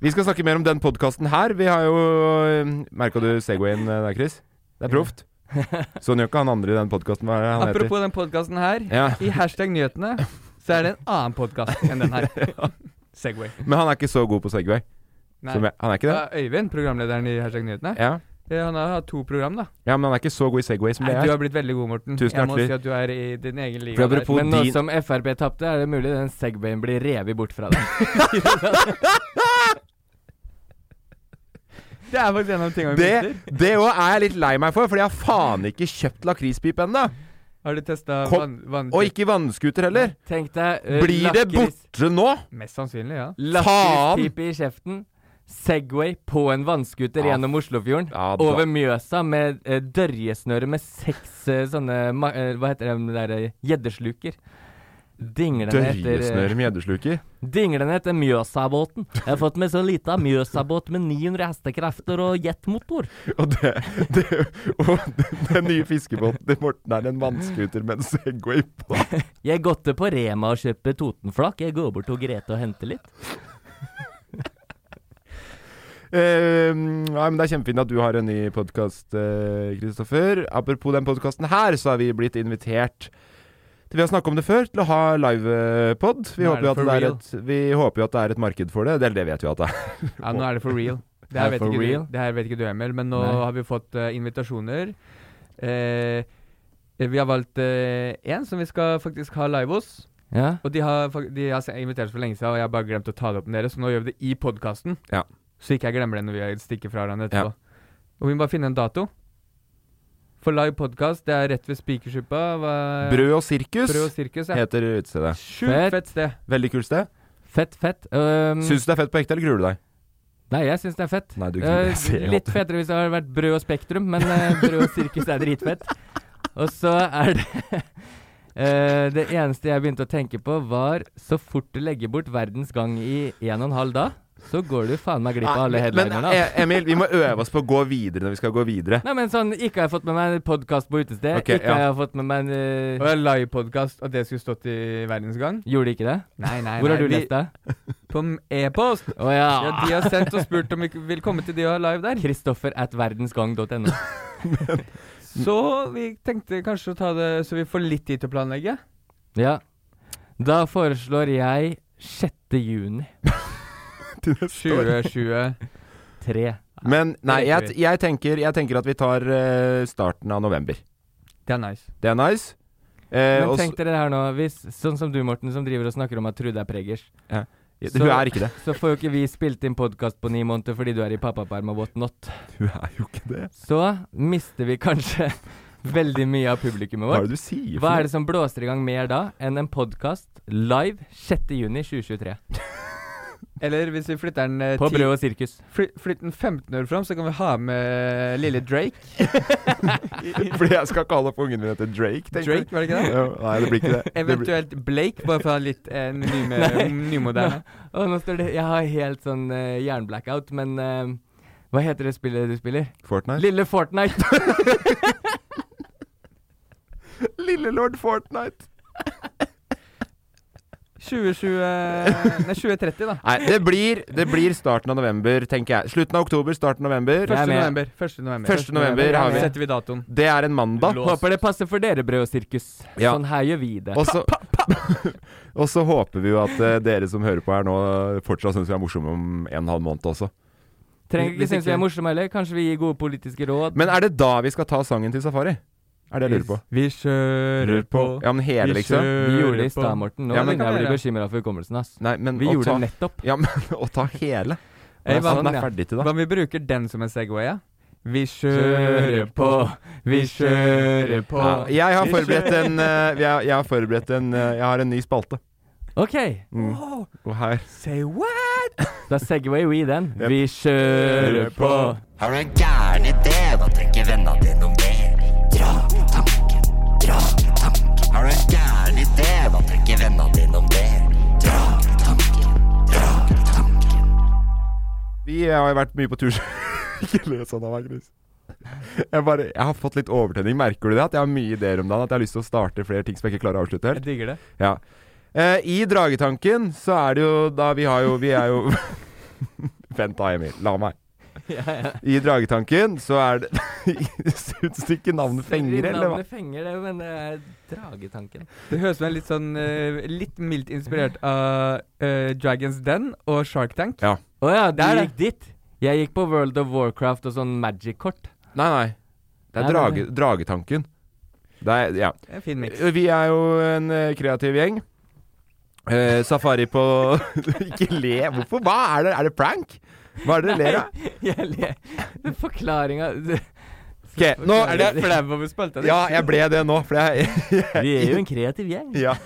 Vi skal eh, snakke mer om den podkasten her. Vi har jo Merka du Segwayen der, Chris? eh, Det er proft.
(laughs)
Sånn gjør ikke han andre i den podkasten. Hva er det han
Apropos den podkasten her.
heter? Ja.
I hashtag nyhetene så er det en annen podkast enn den
(laughs)
her. Segway.
Men han er ikke så god på Segway.
Nei.
Som jeg, han er ikke det?
Ja, Øyvind, programlederen i hashtag nyhetene,
Ja.
Eh, han har hatt to program, da.
ja, men han er ikke så god i Segway som
Nei,
det
du har
jeg er.
blitt veldig god, Morten.
Tusen
jeg må
hjertelig.
si at du er i din egen liga.
For
der.
apropos
Men sånn- nå
din-
som Frp tapte, er det mulig den segwayen blir revet bort fra
(laughs)
deg.
Det er faktisk en av de tingene vi mister.
Det, det òg er jeg litt lei meg for, Fordi jeg har faen ikke kjøpt lakrispip ennå.
Har du testa
Kom-
vann... vann
Og ikke vannskuter heller.
Tenk deg eh,
Blir det
lakris-
borte nå?
Mest sannsynlig, ja.
Lakrispipe i kjeften. Segway på en vannskuter
Ja.
gjennom Oslofjorden.
Ja, da-
over Mjøsa med eh, dørjesnøre med seks eh, sånne ma eh, Hva heter de der eh, gjeddesluker? Dinglende etter,
Dørjesnøre
eh,
med gjeddesluker.
dinglende etter Mjøsabåten. Jeg har fått meg sånn lita Mjøsabåt med 900 hestekrefter og jetmotor.
Og, det, det, og den- den nye fiskebåten til Morten er en vannskuter med en Segway på.
Jeg gåtte på Rema og kjøper Totenflak. Jeg går bort til Grete og henter litt.
Eh, nei, men Det er kjempefint at du har en ny podkast, Kristoffer. Apropos den podkasten her, så er vi blitt invitert til vi har snakket om det før, til å ha livepod. Vi,
Nå er
håper
det
jo at
for
det er
real.
et- vi håper jo at det er et marked for det. Det, eller det vet vi jo at det er.
Ja, nå er det for
(laughs)
real. Det
Er
her vet
for
ikke,
real?
Du, det her vet ikke du, Emil, men nå
Nei.
har vi fått eh, invitasjoner. Eh, vi har valgt én som vi skal faktisk ha live hos.
Ja.
Og de har, fak- de har se- invitert oss for lenge siden, og jeg har bare glemt å ta det opp med dere, så nå gjør vi det i podkasten.
Ja.
Så ikke jeg glemmer det når vi stikker fra hverandre etterpå. Og vi må bare finne en dato. For live podkast, det er rett ved Spikersuppa. hva-
Brød og sirkus
Brød og sirkus. Ja.
heter utestedet.
Sjukt fett sted.
Veldig kult sted.
Fett, fett.
Mm.
Um,
Syns du det er fett på ekte, eller gruer du deg?
Nei, jeg syns det er fett.
Nei, du
Eh,
gruer deg. ser jeg
litt
at-
fetere hvis det hadde vært Brød og Spektrum, men eh, Brød og Sirkus er dritfett. Og så er det eh, Det eneste jeg begynte å tenke på, var så fort du legger bort verdens gang i en og en halv dag, så går du faen meg glipp av alle
Nei, men
headlinerne.
eh,
altså.
Emil, vi må øve oss på å gå videre når vi skal gå videre.
Nei, men sånn Ikke har jeg fått med meg en podkast på utested.
Ok,
ikke
ja.
har jeg fått med meg en eh,
Og live podkast, og det skulle stått i Verdens Gang?
Gjorde ikke det?
Nei, nei,
Hvor
nei,
har du
vi-
lest det?
På m- e-post.
Å ja.
Ja, de har sendt og spurt om vi k- vil komme til de og ha live der.
Kristoffer at verdensgang.no.
Så vi tenkte kanskje å ta det så vi får litt tid til å planlegge.
Ja. Da foreslår jeg 6. juni.
2020.
Tre.
Men nei,
det liker
jeg, jeg, tenker, jeg tenker at vi tar eh, starten av november.
Det er nice.
Det er nice. Eh,
Men
og
tenk dere det her nå, hvis, sånn som du Morten, som driver og snakker om at Trude er preggers,
så,
så-
hun er (laughs) ikke det.
så får jo ikke vi spilt inn podkast på ni måneder fordi du er i pappaperm og what not.
Hun er jo ikke det.
Så mister vi kanskje (laughs) veldig mye av publikummet
Hva er
vårt.
det du sier?
Hva er det som blåser i gang mer da enn en podkast live 6.6.2023
Eller hvis vi flytter den eh,
på
ti-
Brød og sirkus?
Fly, flytt den 15 år fram, så kan vi ha med eh, lille Drake.
(laughs) Fordi jeg skal kalle opp ungen min etter Drake, tenker
Drake, var det ikke det?
du? Jo, Nei, det blir ikke det. det
(laughs)
blir...
Eventuelt Blake, bare for å ha litt eh, ny-
(laughs) Nei.
nymoderne.
Å, nå står det Jeg har helt sånn eh, jernblackout, men eh, hva heter det spillet du spiller?
Fortnite?
Lille Fortnite!
Lille lord Fortnite.
2020 Nei, 2030, da.
Nei, det blir, det blir starten av november, tenker jeg. Slutten av oktober, starten av november.
Først-
1.
med.
november. 1. november.
Første november har vi.
setter vi datoen.
Det er en mandag.
Lås.
Håper det passer for dere, Brød og sirkus.
Ja.
Sånn her gjør vi det.
Og så, (laughs) og så håper vi jo at eh, dere som hører på her nå, fortsatt syns vi er morsomme om en og en halv måned også.
Trenger ikke
Hvis
synes vi
ikke-
er morsomme heller. Kanskje vi gir gode politiske råd.
Men er det da vi skal ta sangen til Safari? Er det jeg lurer på.
Vi kjører på.
Ja, men hele,
Vi
liksom?
vi gjorde det i
på.
stad, Morten. Nå
Ja,
ja,
men-
men, jeg blir bekymra for hukommelsen, ass.
Nei, men
Vi
å
gjorde
ta,
det nettopp.
Ja, men å ta hele.
Hey,
Nei,
hva,
den
ja.
er ferdig til
hva
da.
om vi bruker den som en Segway? Ja? Vi
Kjøre på,
kjører på.
vi kjører på.
Ja, jeg har forberedt en, eh, jeg, jeg har forberedt en eh, Jeg har en ny spalte.
OK,
Mm. Og her
Say what?
da segway we den.
Yep.
Vi kjører på.
Har du en gæren idé, da tenker vennene dine om det. Dra på tanken, dra på tanken. Har du en gæren idé, da tenker vennene dine om det. Dra på tanken, dra på tanken.
Vi har jo vært mye på tur Ikke les han av meg, Chris. Jeg, bare, jeg har fått litt overtenning. Merker du det? At jeg har mye ideer om dagen? At jeg har lyst til å starte flere ting som jeg ikke klarer å avslutte
Jeg
helt?
digger det.
Ja. Eh, I Dragetanken så er det jo da Vi har jo Vi er jo Vent da, Emil. La meg. I Dragetanken så er det Det syns ikke navnet fenger, eller hva?
Navnet fenger, det, men det er eh, dragetanken.
Det høres ut som en litt sånn eh, Litt mildt inspirert av eh, Dragons Den og Shark Tank.
Ja.
Å ja, du
Det er det.
gikk dit? Jeg gikk på World of Warcraft og sånn magic-kort.
Nei, nei. Det
Nei,
er drage,
nei.
Dragetanken. Det er, ja.
Det er En fin miks.
Vi er jo en eh, kreativ gjeng. Eh, safari på (laughs) Ikke le! Hvorfor? Hva er det? Er det prank? Hva er det dere ler av?
(laughs) Jeg ler. Forklaringa (laughs)
Ok, nå er det
flau over spalta
Ja, jeg ble det nå, for jeg
Vi er jo en kreativ gjeng.
Ja.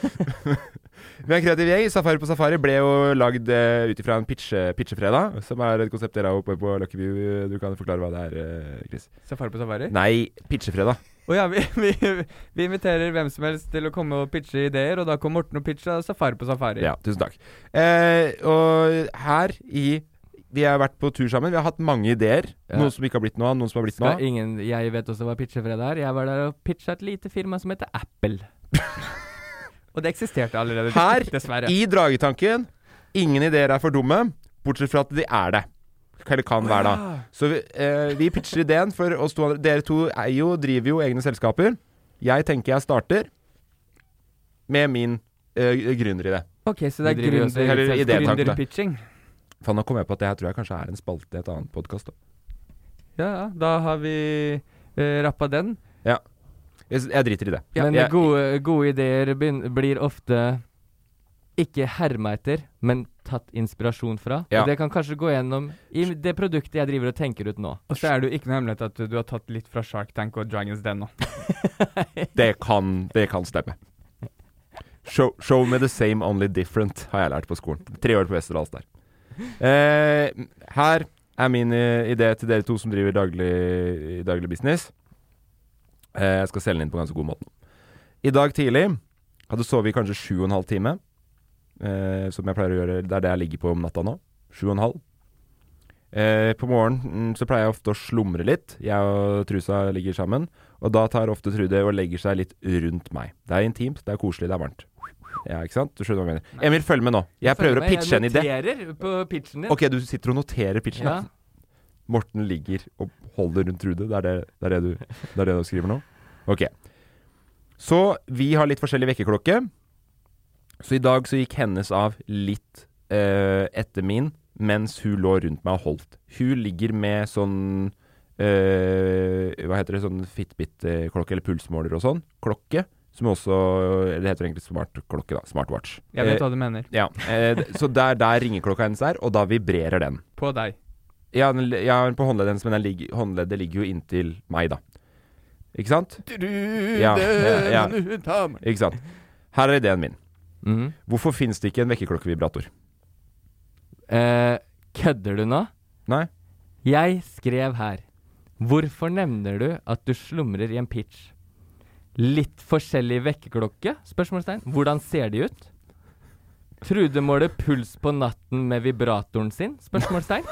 (laughs) Vi er en kreativ gjeng. Safari på Safari ble jo lagd uh, ut ifra en pitche, pitchefredag, som er et konsept dere har oppe på Lucky View. Du kan forklare hva det er, eh, Chris.
Safari på safari?
Nei, pitchefredag.
Å ja, vi, vi, vi inviterer hvem som helst til å komme og pitche ideer, og da kom Morten og pitcha Safari på safari.
Ja, tusen takk. Eh, og her i Vi har vært på tur sammen. Vi har hatt mange ideer.
Ja.
Noen som ikke har blitt noe av, noen som har blitt
Skal
noe av.
ingen, jeg vet også hva pitchefredag er. Jeg var der og pitcha et lite firma som heter Apple.
(laughs) Og det eksisterte allerede,
Her
dessverre.
i Dragetanken Ingen ideer er for dumme, bortsett fra at de er det. Eller kan være da. Så vi, eh, vi pitcher ideen for oss to andre. Dere to er jo, driver jo egne selskaper. Jeg tenker jeg starter med min eh, gründeridé.
Ok, så det er
Vi driver jo også
heller
gründer-
idétank, da.
gründerpitching.
Faen, nå kom jeg på at det her tror jeg kanskje er en spalte i et annet podkast.
Ja, ja. Da har vi eh, rappa den.
Jeg, s- jeg driter i det.
Men eh,
jeg,
gode, gode ideer begyn- blir ofte ikke herma etter, men tatt inspirasjon fra.
Ja.
Og det kan kanskje gå gjennom i det produktet jeg driver og tenker ut nå.
Og så er det jo ikke noe hemmelighet at du har tatt litt fra Shark Tank og Dragons Den nå.
det, kan, det kan stemme. Show, show me the same, only different, har jeg lært på skolen. Tre år på Westerdals der. Eh, her er min eh, idé til dere to som driver daglig, daglig business. Eh, jeg skal selge den inn på ganske god måte. I dag tidlig hadde sovet i kanskje sju og en halv time. Eh, som jeg pleier å gjøre. Det er det jeg ligger på om natta nå. Sju og en halv. Eh, på morgenen mm, så pleier jeg ofte å slumre litt. Jeg og trusa ligger sammen. Og da tar ofte Trude og legger seg litt rundt meg. Det er intimt, det er koselig, det er varmt. Ja, ikke sant? Du skjønner hva jeg mener. Emil, følg med nå. Jeg prøver å pitche en idé.
Jeg noterer på pitchen din.
Ok, du sitter og noterer pitchen.
Ja.
da. Morten ligger og holder rundt Trude. Det er det, det, er det, du, det, er det du skriver nå? Ok. Så vi har litt forskjellig vekkerklokke. Så i dag så gikk hennes av litt eh, etter min, mens hun lå rundt meg og holdt. Hun ligger med sånn eh, Hva heter det? Sånn Fitbit-klokke eller pulsmåler og sånn. Klokke. Som også Det heter egentlig smartklokke, da. Smartwatch.
Jeg vet
Eh,
hva du mener.
ja, eh, d- så der, der ringeklokka hennes er, og da vibrerer den.
På deg.
Jeg har den jeg har den på håndleddet hennes, men den ligger, håndleddet ligger jo inntil meg, da. Ikke sant? Ja, ja, ja. Ikke sant. Her er ideen min.
Mhm.
Hvorfor fins det ikke en vekkerklokkevibrator?
Eh, kødder du nå?
Nei?
Jeg skrev her Hvorfor nevner du at du slumrer i en pitch? Litt forskjellig vekkerklokke? Spørsmålstegn. Hvordan ser de ut? Trude måler puls på natten med vibratoren sin?
(laughs)
Spørsmålstegn.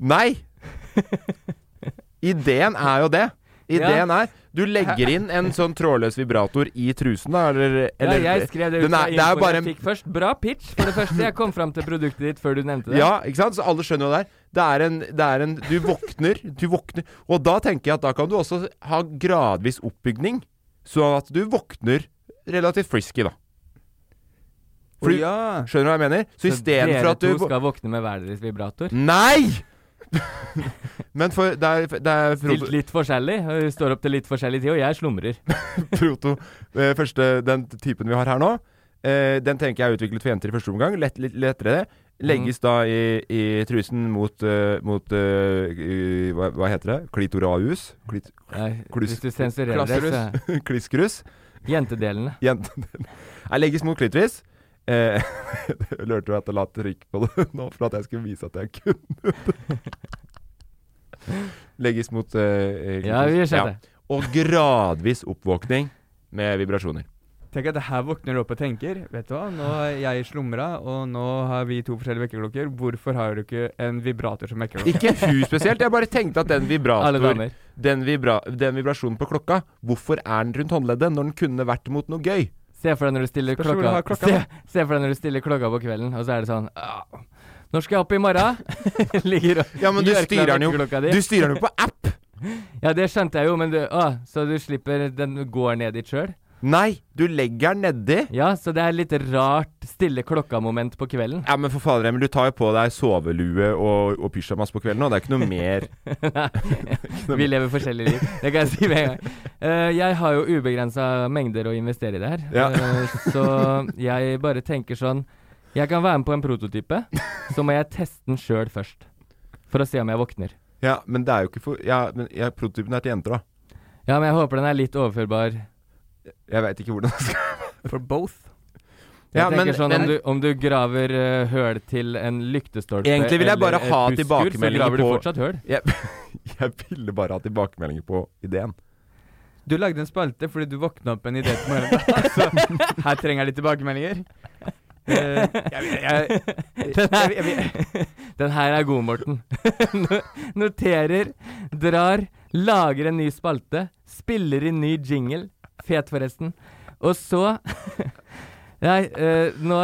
Nei! Ideen er jo det. Ideen er Du legger inn en sånn trådløs vibrator i trusen, da, eller,
Ja,
eller
jeg skrev det ut
den
fra
er- det er jo
infoen
bare
jeg
en
fikk først. Bra pitch, for det første. Jeg kom fram til produktet ditt før du nevnte det.
Ja, ikke sant? Så alle skjønner jo det her. Det er en, det er en Du våkner, du våkner. Og da tenker jeg at da kan du også ha gradvis oppbygning, sånn at du våkner relativt frisky, da. For du-
ja.
Skjønner du hva jeg mener? Så, i
Så
stedet for
dere
at du
to skal våkne med hver deres vibrator.
Nei! (laughs) Men for det er, det er
Stilt
proto,
litt forskjellig. og Hun står opp til litt forskjellig tid, og jeg
(laughs)
slumrer.
proto eh, første, Den typen vi har her nå, eh, den tenker jeg er utviklet for jenter i første omgang. Lett, litt lettere det.
Mm.
Legges da i, i trusen mot, eh, mot eh, i- hva, hva heter det? Klitoraus? Klit, (laughs)
Nei,
Kluss-
hvis du sensurerer det, så
Klisskrus. (laughs)
Jentedelene.
Jentene Jeg legges mot klitoris. Eh, (laughs) lurte du at jeg la trykk på det nå for at jeg skulle vise at jeg kunne det? (laughs) Legges mot eh, klitoris.
Ja, vi
Ja.
skjønner.
Og gradvis oppvåkning med vibrasjoner.
Tenk at det her våkner du opp og tenker. Vet du hva, nå har jeg slumra, og nå har vi to forskjellige vekkerklokker. Hvorfor har du ikke en vibrator som vekkerklokke?
Ikke hun spesielt, jeg bare tenkte at den
Alle
vibrator
damer.
den, vibra den vibrasjonen på klokka, hvorfor er den rundt håndleddet når den kunne vært mot noe gøy?
Se for deg når du stiller
Spørs hvor du
klokka,
har klokka,
se, se for deg når du stiller klokka på kvelden, og så er det sånn «Ah, Når skal jeg opp i
(laughs)
morgen? Ligger og
Ja, men du
gjør klar
styrer den jo
vekkerklokka di.
Du styrer den jo på app!
Ja, det skjønte jeg jo, men du Å, så du slipper Den går ned dit sjøl?
Nei, du legger den nedi.
Ja, så det er litt rart stille klokka-moment på kvelden.
Ja, men for fader Emil, du tar jo på deg sovelue og, og pysjamas på kvelden, og det er ikke noe mer
Vi lever forskjellige liv. Det kan jeg si med en gang. Eh, jeg har jo ubegrensa mengder å investere i det her.
Ja.
Eh, så jeg bare tenker sånn Jeg kan være med på en prototype, så må jeg teste den sjøl først. For å se om jeg våkner.
(laughs) Ja, men det er jo ikke for Ja, men ja, prototypen er til jenter, da.
Ja, men jeg håper den er litt overførbar.
Jeg veit ikke hvordan det skal
For both.
Jeg
Ja,
tenker
men-
sånn
men-
Om du, om du graver eh, høl til en lyktestolpe
Egentlig vil jeg bare
eller et
ha
busskur,
tilbakemeldinger
Så graver du
på-
fortsatt høl.
jeg, (laughs) jeg ville bare ha tilbakemeldinger på ideen.
Du lagde en spalte fordi du våkna opp en idé til
(laughs)
morgenen. Så her trenger de tilbakemeldinger. Eh, jeg, jeg,
(laughs)
Den her, den her er god, Morten. (laughs) No- Noterer, drar, lager en ny spalte, spiller inn ny jingle. Fet, forresten. Og så (laughs) Nei, eh, nå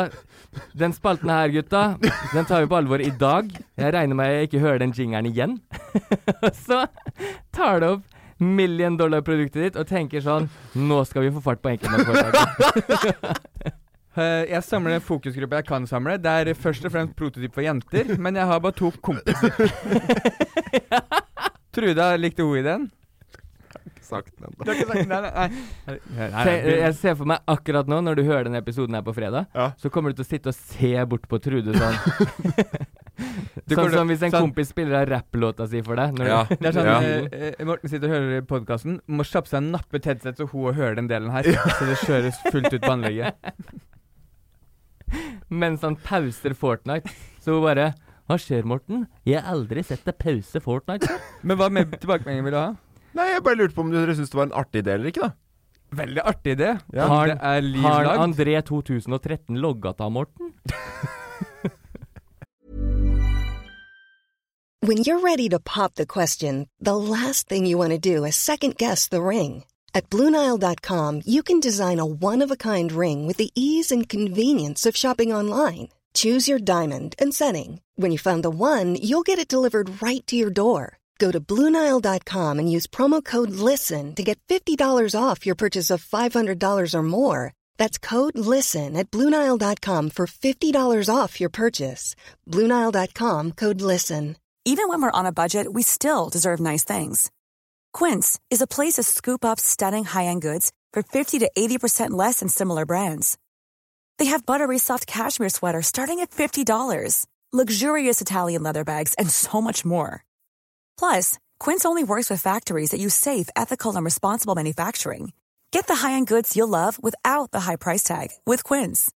Den spalten her, gutta, den tar vi på alvor i dag. Jeg regner med jeg ikke hører den jingeren igjen. (laughs) Og så tar du opp million dollar-produktet ditt og tenker sånn Nå skal vi få fart på enkeltmannsforetaket.
Eh, jeg samler en fokusgruppe jeg kan samle. Det er først og fremst prototyp for jenter, men jeg har bare to
(laughs)
kompiser. Truda likte hun ideen.
Sagt den,
Du har ikke sagt nei, nei, (laughs) nei.
Se, jeg ser for meg akkurat nå, når du hører denne episoden her på fredag,
Ja.
så kommer du til å sitte og se bort på Trude sånn.
(laughs)
sånn
Du kommer til-
som hvis en
sånn-
kompis spiller av rapplåta si for deg. Når
Ja.
du,
Det er sånn,
Ja.
eh, eh, Morten sitter og hører podkasten, må kjappe seg en nappe headset så hun hører den delen her. Så det kjøres fullt ut på anlegget.
mens han pauser Fortnite, så hun bare Hva skjer, Morten? Jeg har aldri sett deg pause Fortnite før.
Men hva med tilbakemeldinger vil du ha?
Nei, jeg bare lurte på om dere syntes det var en artig idé eller ikke, da.
Veldig artig idé.
Ja.
Om det er liv
Har
lagd.
André 2013 logga av Morten?
When you're ready to pop the question, the last thing you want to do is second guess the ring. At Bluenile.com, you can design a one of a kind ring with the ease and convenience of shopping online. Choose your diamond and setting. When you find the one, you'll get it delivered right to your door. Go to Bluenile.com and use promo code LISTEN to get $50 off your purchase of $500 or more. That's code LISTEN at Bluenile.com for $50 off your purchase. Bluenile.com code LISTEN.
Even when we're on a budget, we still deserve nice things. Quince is a place to scoop up stunning high-end goods for 50 to 80% less than similar brands. They have buttery soft cashmere sweaters starting at $50, luxurious Italian leather bags, and so much more. Plus, Quince only works with factories that use safe, ethical, and responsible manufacturing. Get the high-end goods you'll love without the high price tag with Quince.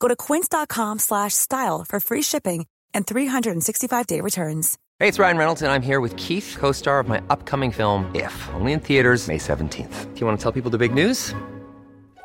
Go to quince.com slash style for free shipping and 365-day returns.
Hey, it's Ryan Reynolds, and I'm here with Keith, co star of my upcoming film, If, only in theaters, May 17th. Do you want to tell people the big news?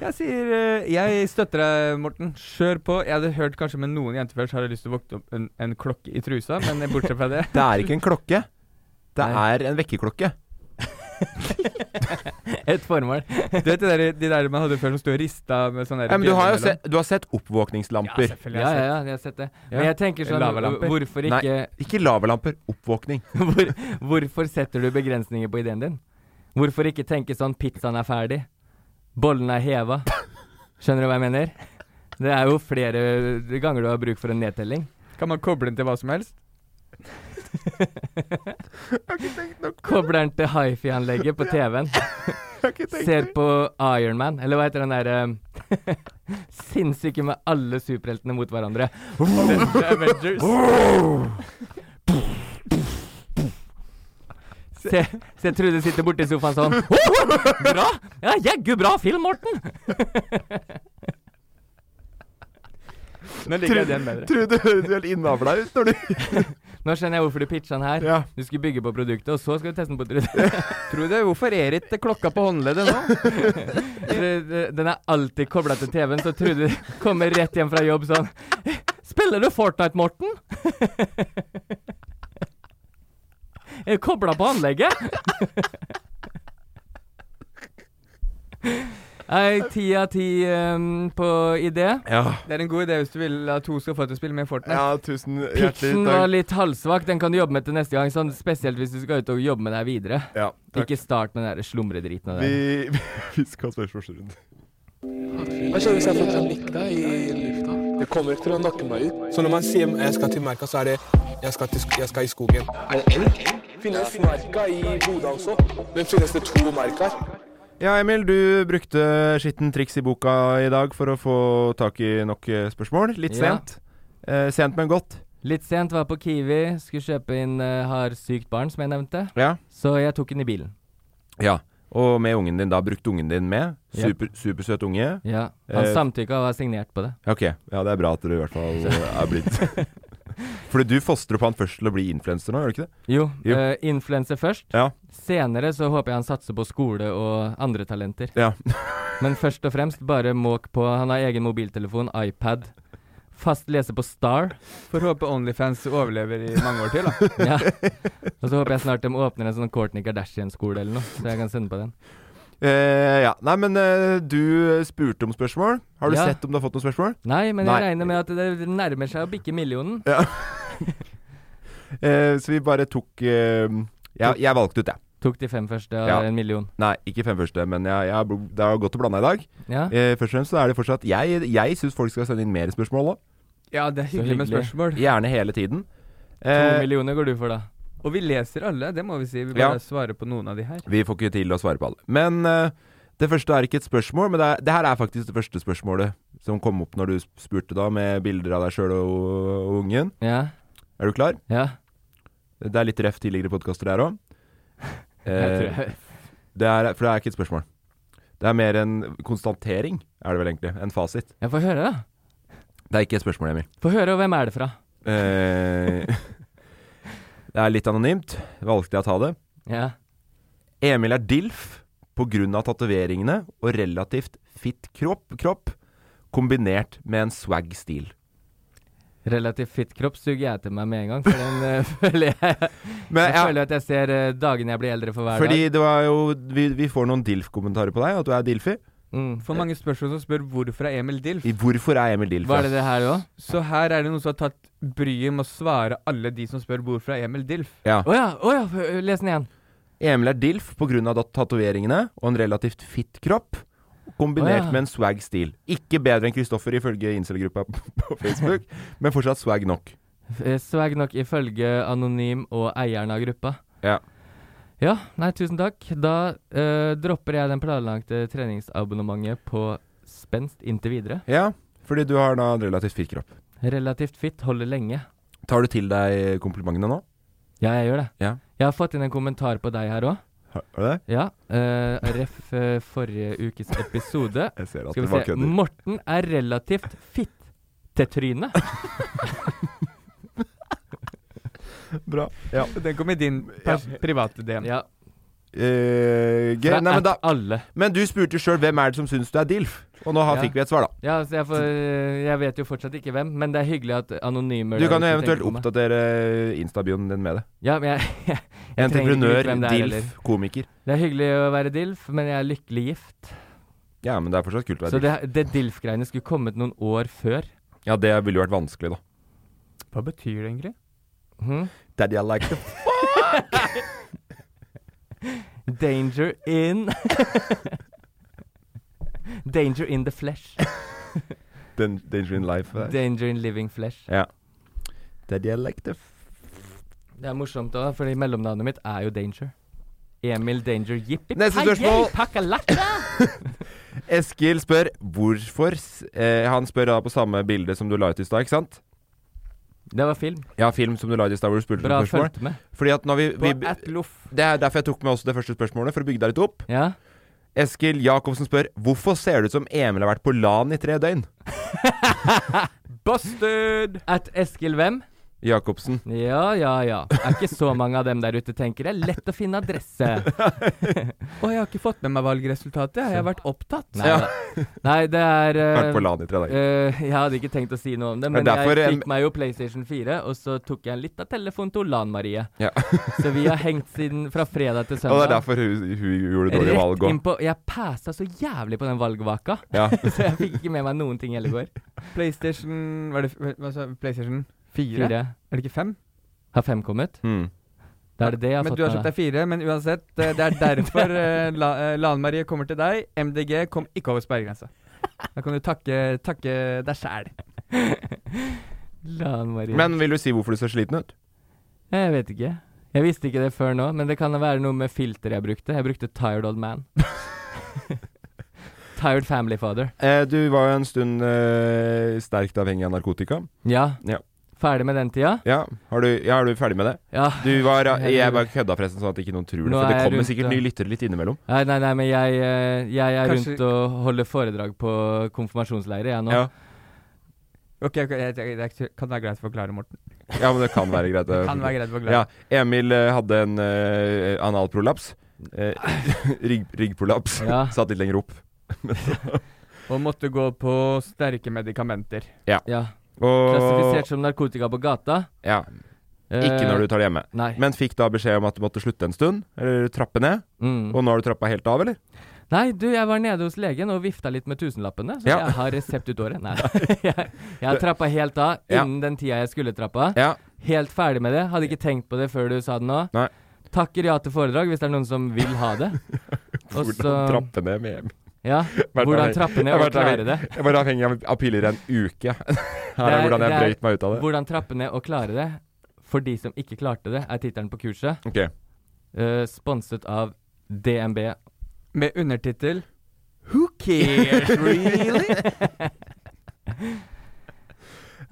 Jeg sier eh, Jeg støtter deg, Morten. Kjør på. Jeg hadde hørt kanskje med noen jenter før, så hadde jeg lyst til å våkne opp en, en klokke i trusa, men bortsett fra det (laughs)
Det er ikke en klokke. Det
Nei.
er en vekkerklokke.
Et (laughs) formål.
Du vet de der, de der man hadde før som sto og rista med sånn der
Ja, men du har jo
bjelle
sett, du har sett
mellom?
oppvåkningslamper.
Ja, selvfølgelig.
Ja,
har jeg
ja, ja, jeg
sett.
har sett det.
Ja.
Men jeg tenker sånn
Lavalamper.
Hvorfor
Nei.
ikke
ikke lavalamper, (laughs) oppvåkning.
(laughs) Hvor, hvorfor setter du begrensninger på ideen din? Hvorfor ikke tenke sånn pizzaen er ferdig, bollen er heva? Skjønner du hva jeg mener? Det er jo flere ganger du har bruk for en nedtelling.
Kan man koble den til hva som helst?
Kobler den til hifi-anlegget på TV-en. Ser på Ironman, eller hva heter den derre (laughs) Sinnssyke med alle superheltene mot hverandre.
The Avengers.
Se, se Trude sitter borti sofaen sånn. Bra! Ja, jeggu bra film, Morten!
Nå liker jeg den bedre.
Trude høres helt innavla ut når du
Nå skjønner jeg hvorfor du pitcha den her.
Ja.
Du skulle bygge på produktet, og så skal du teste den på Trude.
(laughs) Tror du det? Hvorfor er ikke klokka på håndleddet (laughs) nå?
Det- det- Den er alltid kobla til TV-en, så Trude kommer rett hjem fra jobb sånn Spiller du Fortnite, Morten? (laughs) Er du kobla på anlegget? (laughs) Nei, ti av ti ehm, på idé.
Ja.
Det er en god idé hvis du vil at to skal få til å spille med Fortnite.
ja, tusen hjertelig
Pitchen var
takk.
litt halvsvak, den kan du jobbe med til neste gang. Sånn, spesielt hvis du skal ut og jobbe med deg videre.
Ja, takk.
Ikke start med den der slumredriten. og
Vi, (laughs)
det.
vi skal ha spørsmålsrunde.
Hva skjer hvis jeg får termitter i lufta? Det kommer ikke til å nakke meg ut. Så når man sier jeg skal til merka, så er det jeg skal, i skogen. Er det elg? Finnes merka i Bodø også? Men finnes det to merker?
Ja, Emil, du brukte skitten triks i boka i dag for å få tak i nok eh, spørsmål. Litt
Ja.
sent. Eh, sent, men godt.
Litt sent var på Kiwi, skulle kjøpe inn eh, Har sykt barn, som jeg nevnte.
Ja.
Så jeg tok den i bilen.
ja. Og med ungen din, da. Brukt ungen din med.
Ja.
Super, Supersøt unge.
Ja, Han
Eh,
samtykka og har signert på det.
Ja, Ok, ja det er bra at dere i hvert fall eh, er blitt (laughs) Fordi du fostrer på han først til å bli influenser nå, gjør du ikke det?
Jo,
Jo.
eh, influenser først.
Ja.
Senere så håper jeg han satser på skole og andre talenter.
Ja.
Men først og fremst bare måk på. Han har egen mobiltelefon, iPad. Fast lese på Star.
Får håpe Onlyfans overlever i mange år til, da.
(laughs) Ja. Og så håper jeg snart de åpner en sånn Courtney Kardashian-skole eller noe, så jeg kan sende på den.
(laughs) Eh, ja. Nei, men eh, du spurte om spørsmål. Har du
Ja.
sett om du har fått noen spørsmål?
Nei, men jeg
Nei.
regner med at det nærmer seg å bikke millionen.
Eh, så vi bare tok eh, jeg, jeg valgte ut, jeg.
Tok de fem første av
Ja.
en million.
Nei, ikke fem første, men jeg, jeg, har bl- det er godt å blande i dag.
Ja.
Eh, først og fremst så er det fortsatt Jeg, jeg syns folk skal sende inn mer spørsmål òg.
Ja, det er hyggelig med
hyggelig.
spørsmål.
Gjerne hele tiden.
To
Eh,
millioner går du for, da.
Og vi leser alle, det må vi si. Vi
Ja.
bare svarer på noen av de her.
vi får ikke til å svare på alle. Men eh, det første er ikke et spørsmål, men det, er, det her er faktisk det første spørsmålet som kom opp når du sp- spurte, da, med bilder av deg sjøl og, og ungen.
Ja.
Er du klar?
Ja.
Det er litt ref tidligere podkaster der òg.
(laughs) Jeg
Eh.
tror jeg.
Det er, for det er ikke et spørsmål. Det er mer en konstatering, er det vel egentlig. En fasit.
jeg får høre, da.
Det er ikke et spørsmål, Emil.
Få høre, og hvem er det fra?
Eh, (laughs) det er litt anonymt. Valgte jeg å ta det.
Ja.
Emil er DILF pga. tatoveringene og relativt fit kropp, kropp kombinert med en swag stil.
Relativt fit kropp suger jeg til meg med en gang, for den eh, (laughs) føler jeg Jeg
Men,
føler
ja,
at jeg ser eh, dagene jeg blir eldre for hver dag.
fordi det var jo Vi, vi får noen DILF-kommentarer på deg, at du er DILFI.
Mm.
For mange spørsmål som spør hvorfor er Emil DILF?
I- Hvorfor er Emil DILF?
Var det
ja?
det her òg?
Så her er det noen som har tatt bryet med å svare alle de som spør hvorfor er Emil DILF?
Ja.
Å ja, å ja, f- les den igjen.
Emil er DILF pga. tatoveringene og en relativt fit kropp. Kombinert
Å, ja.
med en swag stil. Ikke bedre enn Kristoffer ifølge incel-gruppa på (laughs) på Facebook, men fortsatt swag nok.
F- eh, Swag nok ifølge Anonym og eieren av gruppa.
Ja.
Ja, nei, tusen takk. Da eh, dropper jeg den planlagte treningsabonnementet på spenst inntil videre.
Ja, fordi du har da en relativt fit kropp.
Relativt fit holder lenge.
Tar du til deg komplimentene nå?
Ja, jeg gjør det.
Ja.
Jeg har fått inn en kommentar på deg her òg.
Har har du det?
Ja. eh, ref eh, forrige ukes episode.
Jeg ser at
Skal
det
vi
bare
se. Mm.
kødder.
Morten er relativt fitt til trynet.
Bra. Ja.
Den kom i din pers private DM.
Ja,
Eh, gøy.
fra
Nei, men, da,
at alle.
men du spurte sjøl hvem er det som syns du er DILF, og nå har,
Ja.
fikk vi et svar, da.
Ja, så jeg, får, jeg vet jo fortsatt ikke hvem, men det er hyggelig at anonyme
Du kan jo eventuelt
tenker på meg.
oppdatere instabioen din med det.
Ja, men jeg, (laughs) jeg, trenger ikke
Entreprenør,
vite hvem det er heller.
DILF, komiker.
Det er hyggelig å være DILF, men jeg er lykkelig gift.
Ja, men det er fortsatt kult å
Så
være DILF.
det, det DILF-greiene skulle kommet noen år før.
Ja, det ville jo vært vanskelig, da.
Hva betyr det egentlig?
Mhm.
Daddy, I like the
Danger in Danger in the flesh.
(laughs) Den, danger in life. Der.
Danger in living flesh.
Ja. Det er dialekter.
Det er morsomt òg, fordi mellomnavnet mitt er jo Danger. Emil Danger Jippi
Neste spørsmål.
Pakalakka!
Eskil spør hvorfor s- eh, Han spør da på samme bilde som du la ut i stad, ikke sant?
Det var film.
Ja, film som du la ut i stad hvor du spurte
Bra
om spørsmål.
fulgt med.
Fordi at når vi,
På
vi
at loff.
Det er derfor jeg tok med også det første spørsmålet, for å bygge deg litt opp.
Ja.
Eskil Jacobsen spør hvorfor ser det ut som Emil har vært på LAN i tre døgn?
Busted!
At Eskil hvem?
Jacobsen.
Ja, ja, ja. Er ikke så mange av dem der ute, tenker jeg. Lett å finne adresse.
Å, jeg har ikke fått med meg valgresultatet. Jeg har vært opptatt.
Nei, da. Nei det er eh,
Vært på LAN i tre dager.
eh, jeg hadde ikke tenkt å si noe om det, men
Det er derfor eh,
jeg
en-
fikk meg jo PlayStation 4, og så tok jeg en litt av telefonen til Lan-Marie.
Ja.
(laughs) Så vi har hengt siden fra fredag til
Og det er
søndag.
derfor hun, hun gjorde dårlige valg
Rett
òg.
inn på Jeg passa så jævlig på den valgvaka, (laughs)
Ja.
så jeg fikk ikke med meg noen ting i hele går.
PlayStation Hva er det hva sa jeg? PlayStation 4?
Fire.
Er det ikke 5?
Har fem kommet?
Mm.
Da er det det jeg har
men
fått
du har kjøpt
med
deg fire, men uansett. eh, Det er derfor eh, La, eh, Lan Marie kommer til deg. MDG kom ikke over sperregrensa. Da kan du takke, takke deg sjæl.
(laughs) Lan-Marie.
Men vil du si hvorfor du ser sliten ut?
Jeg vet ikke. Jeg visste ikke det før nå, men det kan være noe med filter jeg brukte. Jeg brukte Tired Old
(laughs)
Man. (laughs) tired Family Father.
Eh, du var jo en stund eh, sterkt avhengig av narkotika.
Ja.
Ja.
Ferdig med den tida?
Ja, har du, ja, er du ferdig med det?
Ja.
Du var, jeg bare kødda forresten, sånn at ikke noen tror det.
Nå
For
er
det
jeg
kommer
rundt,
sikkert
ja.
nye lyttere litt innimellom.
Nei, nei, nei, men jeg, eh, jeg er
Kanskje-
rundt og holder foredrag på konfirmasjonsleirer, jeg nå.
Ja.
Ok, ok, jeg, jeg, jeg, kan det være greit å forklare, Morten?
ja, men det kan være greit. å-
Kan være greit å forklare.
Ja, Emil eh, hadde en eh, analprolaps.
(laughs)
Eh, (laughs) rygg, ryggprolaps.
Ja.
Satt litt lenger opp.
Og måtte gå på sterke medikamenter.
Ja.
Og
Klassifisert som narkotika på gata. Eh,
ja, ikke når du tar det hjemme.
Nei.
Men fikk da beskjed om at du måtte slutte en stund, eller trappe ned.
Mm.
Og nå har du trappa helt av, eller?
Nei, du, jeg var nede hos legen og vifta litt med tusenlappene, så
Ja.
jeg har resept ut året.
(laughs)
Nei, jeg, jeg har trappa helt av
Ja.
innen den tida jeg skulle trappa.
Ja.
Helt ferdig med det. Hadde ikke tenkt på det før du sa det nå.
Nei.
Takker ja til foredrag hvis det er noen som vil ha det. Og
(laughs) Hvordan
så-
trappe ned med Emil?
Ja, hvordan
avhengig-
trappe ned
Jeg
og
har vært
klare det.
Jeg var avhengig av, av piller i en uke. (laughs) Her
Det
er
er-
hvordan jeg
det er-
brøyt meg ut av det.
Hvordan trappe ned og klare det. For de som ikke klarte det, er tittelen på kurset.
Ok,
eh, sponset av DNB.
Med undertittel Who (laughs) cares, really?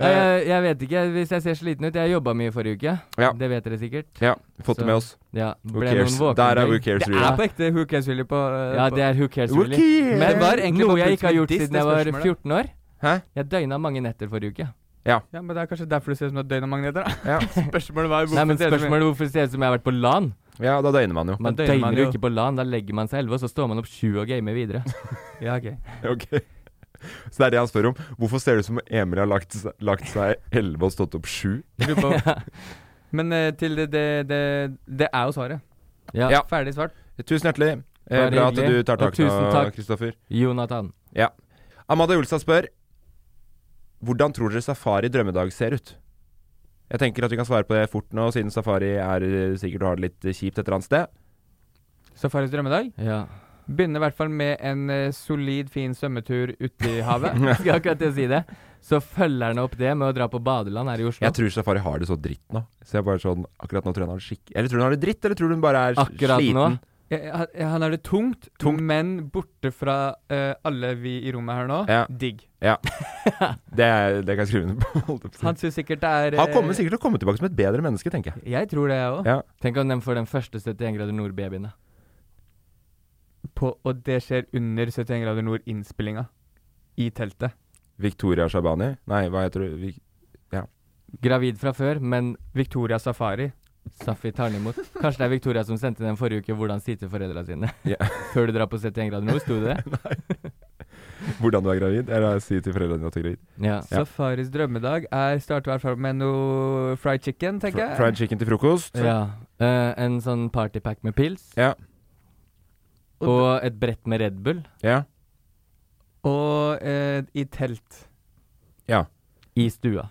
Ja, jeg, Eh, jeg vet ikke, hvis jeg ser sliten ut Jeg jobba mye forrige uke.
Ja.
Det vet dere sikkert.
ja, fått
Så-
det med oss.
Ja,
Who
ble
cares?
noen våkne
Der
en
er Who
dag.
cares,
Det
Rulli.
er på ekte Who cares, really? På, eh,
Ja,
på-
det er Who Cares,
Who
really.
cares?
Men
Det var egentlig
noe
bare
jeg ikke har gjort
plutselig
siden
det
jeg var
spørsmålet.
14 år.
Hæ?
Jeg døgna mange netter forrige uke.
ja, men det er kanskje derfor du ser ut som et døgn av magneter, da.
Ja.
Spørsmålet var jo
Nei, men
ser du ut som-
spørsmålet er hvorfor det ser ut som jeg har vært på LAN.
ja, da døgner man jo.
Man
Da døgner man
døgner jo
jo.
ikke på LAN, da legger man seg 11, og så står man opp 20 og gamer
(laughs)
videre.
Ja, ok.
(laughs) Ok. Så det er det han spør om. Hvorfor ser det ut som Emil har lagt, seg- lagt seg 11 og stått opp
(laughs)
7?
Jeg lurer på- Men eh, til det, det, det Det er jo svaret.
Ja.
Ja.
Ferdig svart.
Tusen hjertelig. Eh,
Bare
bra at
hyggelig.
du tar
Og
tak
tusen
nå,
takk.
Kristoffer.
Jonathan.
Amanda Olstad spør Hvordan tror dere Safari drømmedag ser ut? Jeg tenker at vi kan svare på det fort nå, siden Safari er eh, sikkert har det litt eh, kjipt et eller annet sted.
Safaris drømmedag.
Ja.
Begynner i hvert fall med en eh, solid, fin svømmetur ute i havet.
Jeg skal akkurat til å si det. Så følger han opp det med å dra på badeland her i Oslo.
Jeg tror Safari har det så dritt nå. Så jeg bare sånn Akkurat nå tror jeg han har det skikk... Eller tror du han har det dritt, eller tror du hun bare er s-
Akkurat
sliten?
nå.
Jeg, jeg, han har det tungt,
Tungt.
men borte fra eh, alle vi i rommet her nå.
Ja.
Digg.
(laughs)
Det, er- det kan jeg skrive under på. (laughs) holdt jeg på. å si.
Han syns sikkert det er
Han
eh,
kommer sikkert til å komme tilbake som et bedre menneske, tenker jeg.
Jeg tror det, jeg òg.
Ja.
Tenk om den får den første 71 grader nord-babyen, da.
På- Og det skjer under 71 grader nord-innspillinga. I teltet.
Victoria Shabani Nei, hva heter du? Vic-
Gravid fra før, men
Victoria Safari.
Safi tar den imot. Kanskje det er Victoria som sendte inn den forrige uke hvordan si til foreldra sine.
Ja.
(laughs) Før du drar på 71 grader nord, sto det det?
Hvordan du er gravid? Eller si til foreldrene dine at du er gravid.
Ja.
Ja.
Safaris drømmedag er starter i hvert fall med noe fried chicken, tenker
Fr
jeg.
fried chicken til frokost.
ja. Eh, en sånn partypack med pils.
Ja.
Og et brett med Red Bull
Ja.
Og eh, i telt
ja.
i stua.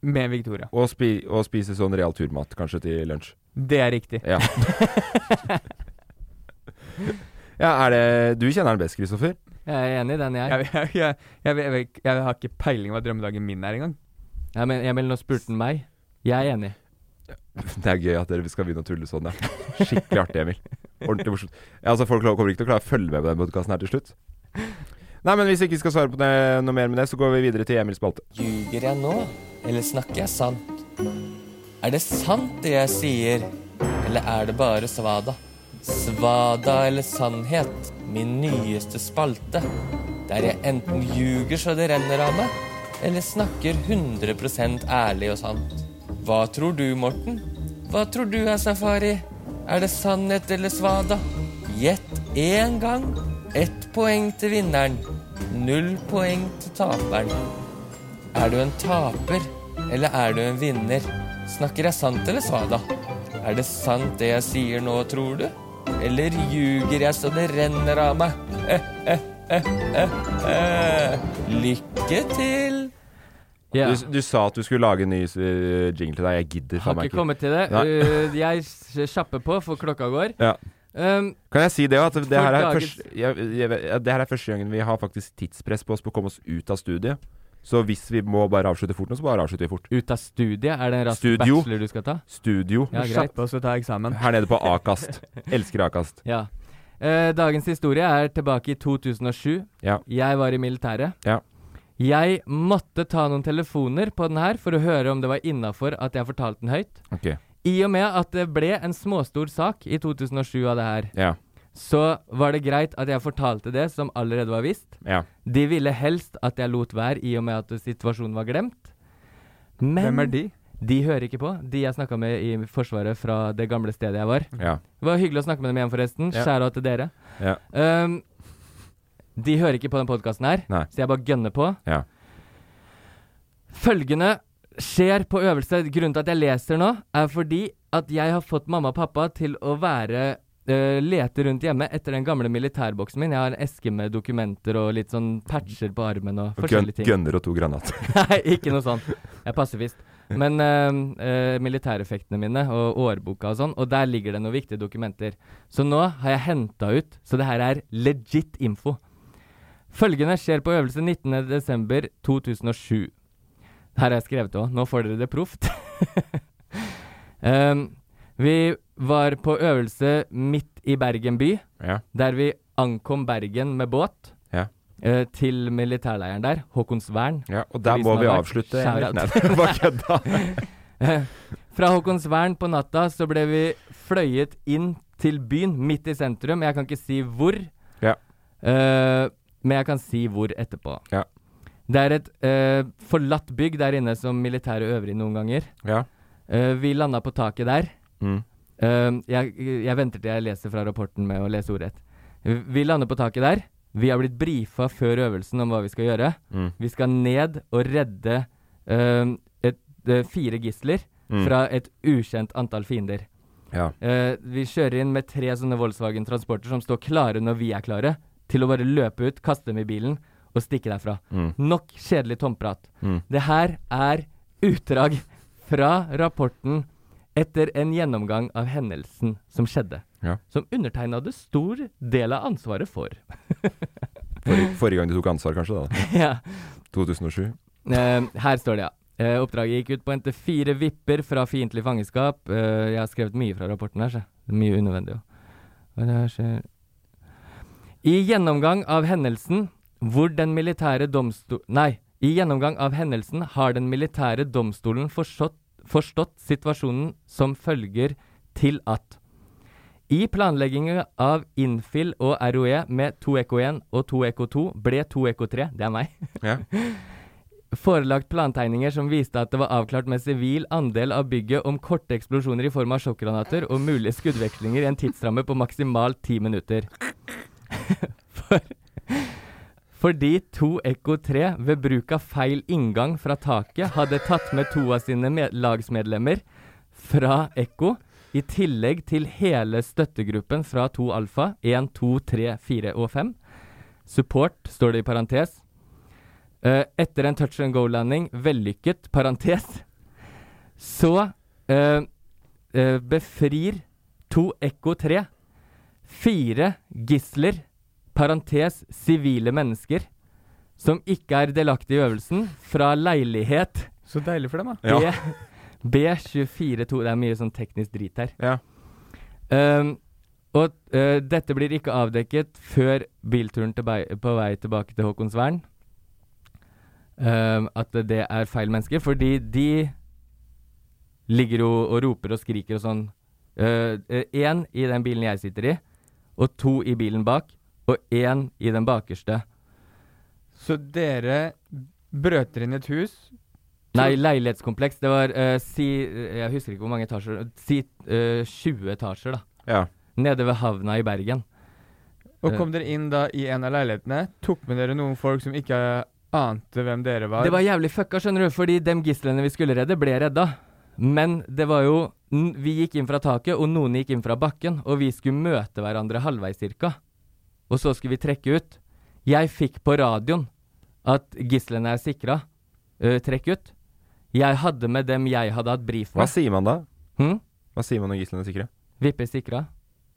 med Victoria.
Og, spi og spise sånn real
(laughs)
turmat, kanskje, til lunsj.
Det er riktig.
Ja. Ja, er det Du kjenner den best, Kristoffer?
Jeg er enig i den, jeg.
Jeg, jeg, jeg, jeg, jeg, jeg, jeg har ikke peiling hva drømmedagen min er engang.
Ja, men Emil, nå spurte han meg. Jeg er enig.
Det er gøy at dere skal begynne å tulle sånn, ja. Skikkelig artig, Emil. Ordentlig morsomt. Ja, altså, folk kommer ikke til å klare å følge med på den podkasten her til slutt. Nei, men hvis ikke vi skal svare på det, noe mer med det, så går vi videre til Emils spalte.
Ljuger jeg nå, eller snakker jeg sant? Er det sant det jeg sier, eller er det bare svada? Svada eller sannhet, min nyeste spalte. Der jeg enten ljuger så det renner av meg, eller snakker 100 ærlig og sant. Hva tror du, Morten? Hva tror du er safari? Er det sannhet eller svada? Gjett én gang. Ett poeng til vinneren. Null poeng til taperen. Er du en taper, eller er du en vinner? Snakker jeg sant eller svada? Er det sant det jeg sier nå, tror du? Eller ljuger jeg så det renner av meg? Eh, eh, eh, eh, eh. Lykke til!
Ja.
Du, du sa at du skulle lage en ny eh, jingle til deg. Jeg gidder
Har
faen meg
ikke
ikke.
kommet til det.
Nei.
Uh, jeg s- kjapper på, for klokka går.
Ja.
Um,
Kan jeg si det òg? At det her, er
dagens-
første, jeg, jeg, jeg, det her er første gangen vi har faktisk tidspress på oss på å komme oss ut av studiet. Så hvis vi må bare avslutte fort nå, så bare avslutter vi fort.
ut av studiet? Er det en rask
Studio.
bachelor du skal ta?
Studio
Ja, greit.
Kjappe oss å ta eksamen.
her nede på Akast. Elsker Akast.
Ja. Eh, dagens historie er tilbake i 2007.
Ja.
Jeg var i militæret.
Ja.
Jeg måtte ta noen telefoner på den her for å høre om det var innafor at jeg fortalte den høyt.
Ok.
I og med at det ble en småstor sak i 2007 av det her,
Ja.
så var det greit at jeg fortalte det som allerede var visst.
Ja.
De ville helst at jeg lot være i og med at situasjonen var glemt. Men
Hvem er de?
de hører ikke på. De jeg snakka med i Forsvaret fra det gamle stedet jeg var.
Ja.
Det var hyggelig å snakke med dem igjen, forresten.
Ja.
Skjæra til dere.
Ja.
Um, de hører ikke på den podkasten her,
Nei.
så jeg bare gønner på.
Ja.
Følgende skjer på øvelse. Grunnen til at jeg leser nå, er fordi at jeg har fått mamma og pappa til å være eh, lete rundt hjemme etter den gamle militærboksen min. Jeg har en eske med dokumenter og litt sånn patcher på armen og
Gun,
forskjellige ting.
gunner og to granater. (laughs)
(laughs) Nei, ikke noe sånt. Jeg er pasifist. Men eh, eh, militæreffektene mine og årboka og sånn, og der ligger det noen viktige dokumenter. Så nå har jeg henta ut, så det her er legit info. Følgende skjer på øvelse 19.12.2007. Her har jeg skrevet òg. Nå får dere det proft. (laughs) Em, vi var på øvelse midt i Bergen by,
Ja.
der vi ankom Bergen med båt.
Ja.
eh, til militærleiren der, Håkonsvern.
ja. Og der
Vi
må
som
vi
har vært
avslutte.
shout out.
Nei, det var kødda. (laughs)
Fra Håkonsvern på natta så ble vi fløyet inn til byen, midt i sentrum. Jeg kan ikke si hvor,
Ja.
eh, men jeg kan si hvor etterpå.
Ja.
Det er et eh, forlatt bygg der inne som militære øver i noen ganger.
Ja.
Eh, vi landa på taket der.
Mm.
Eh, jeg, jeg venter til jeg leser fra rapporten med å lese ordrett. Vi lander på taket der. Vi har blitt brifa før øvelsen om hva vi skal gjøre.
Mm.
Vi skal ned og redde eh, et, eh, fire gisler
Mm.
fra et ukjent antall fiender.
Ja.
Eh, vi kjører inn med tre sånne Volkswagen Transporter som står klare når vi er klare, til å bare løpe ut, kaste dem i bilen og stikke derfra.
Mm.
Nok kjedelig tomprat.
Mm.
Det her er utdrag fra rapporten etter en gjennomgang av hendelsen som skjedde.
Ja.
Som undertegna hadde stor del av ansvaret for. (laughs)
Forrige, forrige gang de tok ansvar, kanskje. da
ja.
2007.
Eh, her står det, ja. Eh, oppdraget gikk ut på å hente fire vipper fra fiendtlig fangenskap. Eh, jeg har skrevet mye fra rapporten her, så. Det er Mye unødvendig òg. Hva er det her skjer I gjennomgang av hendelsen hvor den militære domstol... Nei. I gjennomgang av hendelsen har den militære domstolen forstått, forstått situasjonen som følger til at i planleggingen av Infil og ROE med 2EK1 og 2EK2 ble 2EK3 Det er meg
Ja.
forelagt plantegninger som viste at det var avklart med sivil andel av bygget om korte eksplosjoner i form av sjokkgranater og mulige skuddvekslinger i en tidsramme på maksimalt ti minutter. (laughs) For, fordi 2 Ekko 3 ved bruk av feil inngang fra taket hadde tatt med to av sine med lagsmedlemmer fra Ekko, i tillegg til hele støttegruppen fra 2 Alfa, 1, 2, 3, 4 og 5. Support, står det i parentes. Eh, etter en touch and go-landing, vellykket,
(laughs)
parentes, så eh, eh, befrir to Ekko 3
fire gisler, parentes sivile mennesker, som ikke er delaktige i øvelsen, fra leilighet
Så deilig for dem, da.
Ja.
B, (laughs) B242. Det er mye sånn teknisk drit her.
Ja.
Ehm, og eh, dette blir ikke avdekket før bilturen til bei- på vei tilbake til Håkonsvern. Ehm, at det er feil mennesker, fordi de ligger jo og roper og skriker og sånn. Én i den bilen jeg sitter i, og to i bilen bak, og én i den bakerste.
Så dere brøt dere inn i et hus.
Nei, leilighetskompleks. Det var eh, si Jeg husker ikke hvor mange etasjer. Si eh, 20 etasjer, da.
Ja.
Nede ved havna i Bergen.
Og kom dere inn da i en av leilighetene. Tok med dere noen folk som ikke ante hvem dere var.
Det var jævlig fucka, skjønner du, fordi dem gislene vi skulle redde, ble redda. Men det var jo n- Vi gikk inn fra taket, og noen gikk inn fra bakken, og vi skulle møte hverandre halvveis cirka. Og så skulle vi trekke ut. Jeg fikk på radioen at gislene er sikra. Eh, trekk ut. Jeg hadde med dem jeg hadde hatt brief
Hva
med.
sier man da?
Hm?
Hva sier man når gislene er sikre?
Vippe sikra.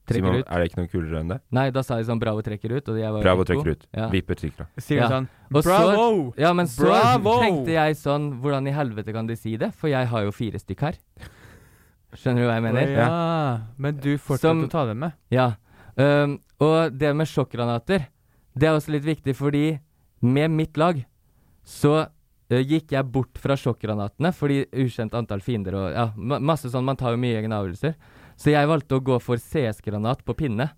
Sier man,
Trekker ut.
er det ikke noe kulere enn det?
Nei, da sa de sånn 'bravo, trekker ut'. Og jeg var jo
Bravo
litt god.
trekker ut.
Ja.
Viper sikra.
Sier
Ja.
ja. sånn
Og
Bravo!
Så, ja, men så
Bravo!
tenkte jeg sånn Hvordan i helvete kan de si det? For jeg har jo fire stykk her. Skjønner du hva jeg
Å,
mener?
ja. Men du fortsatte
Som-
å ta dem med.
Ja. Øhm, og det med sjokkgranater, det er også litt viktig fordi med mitt lag så øh, gikk jeg bort fra sjokkgranatene fordi ukjent antall fiender og ja, ma masse sånn. Man tar jo mye egne avgjørelser. Så jeg valgte å gå for CS-granat på pinne.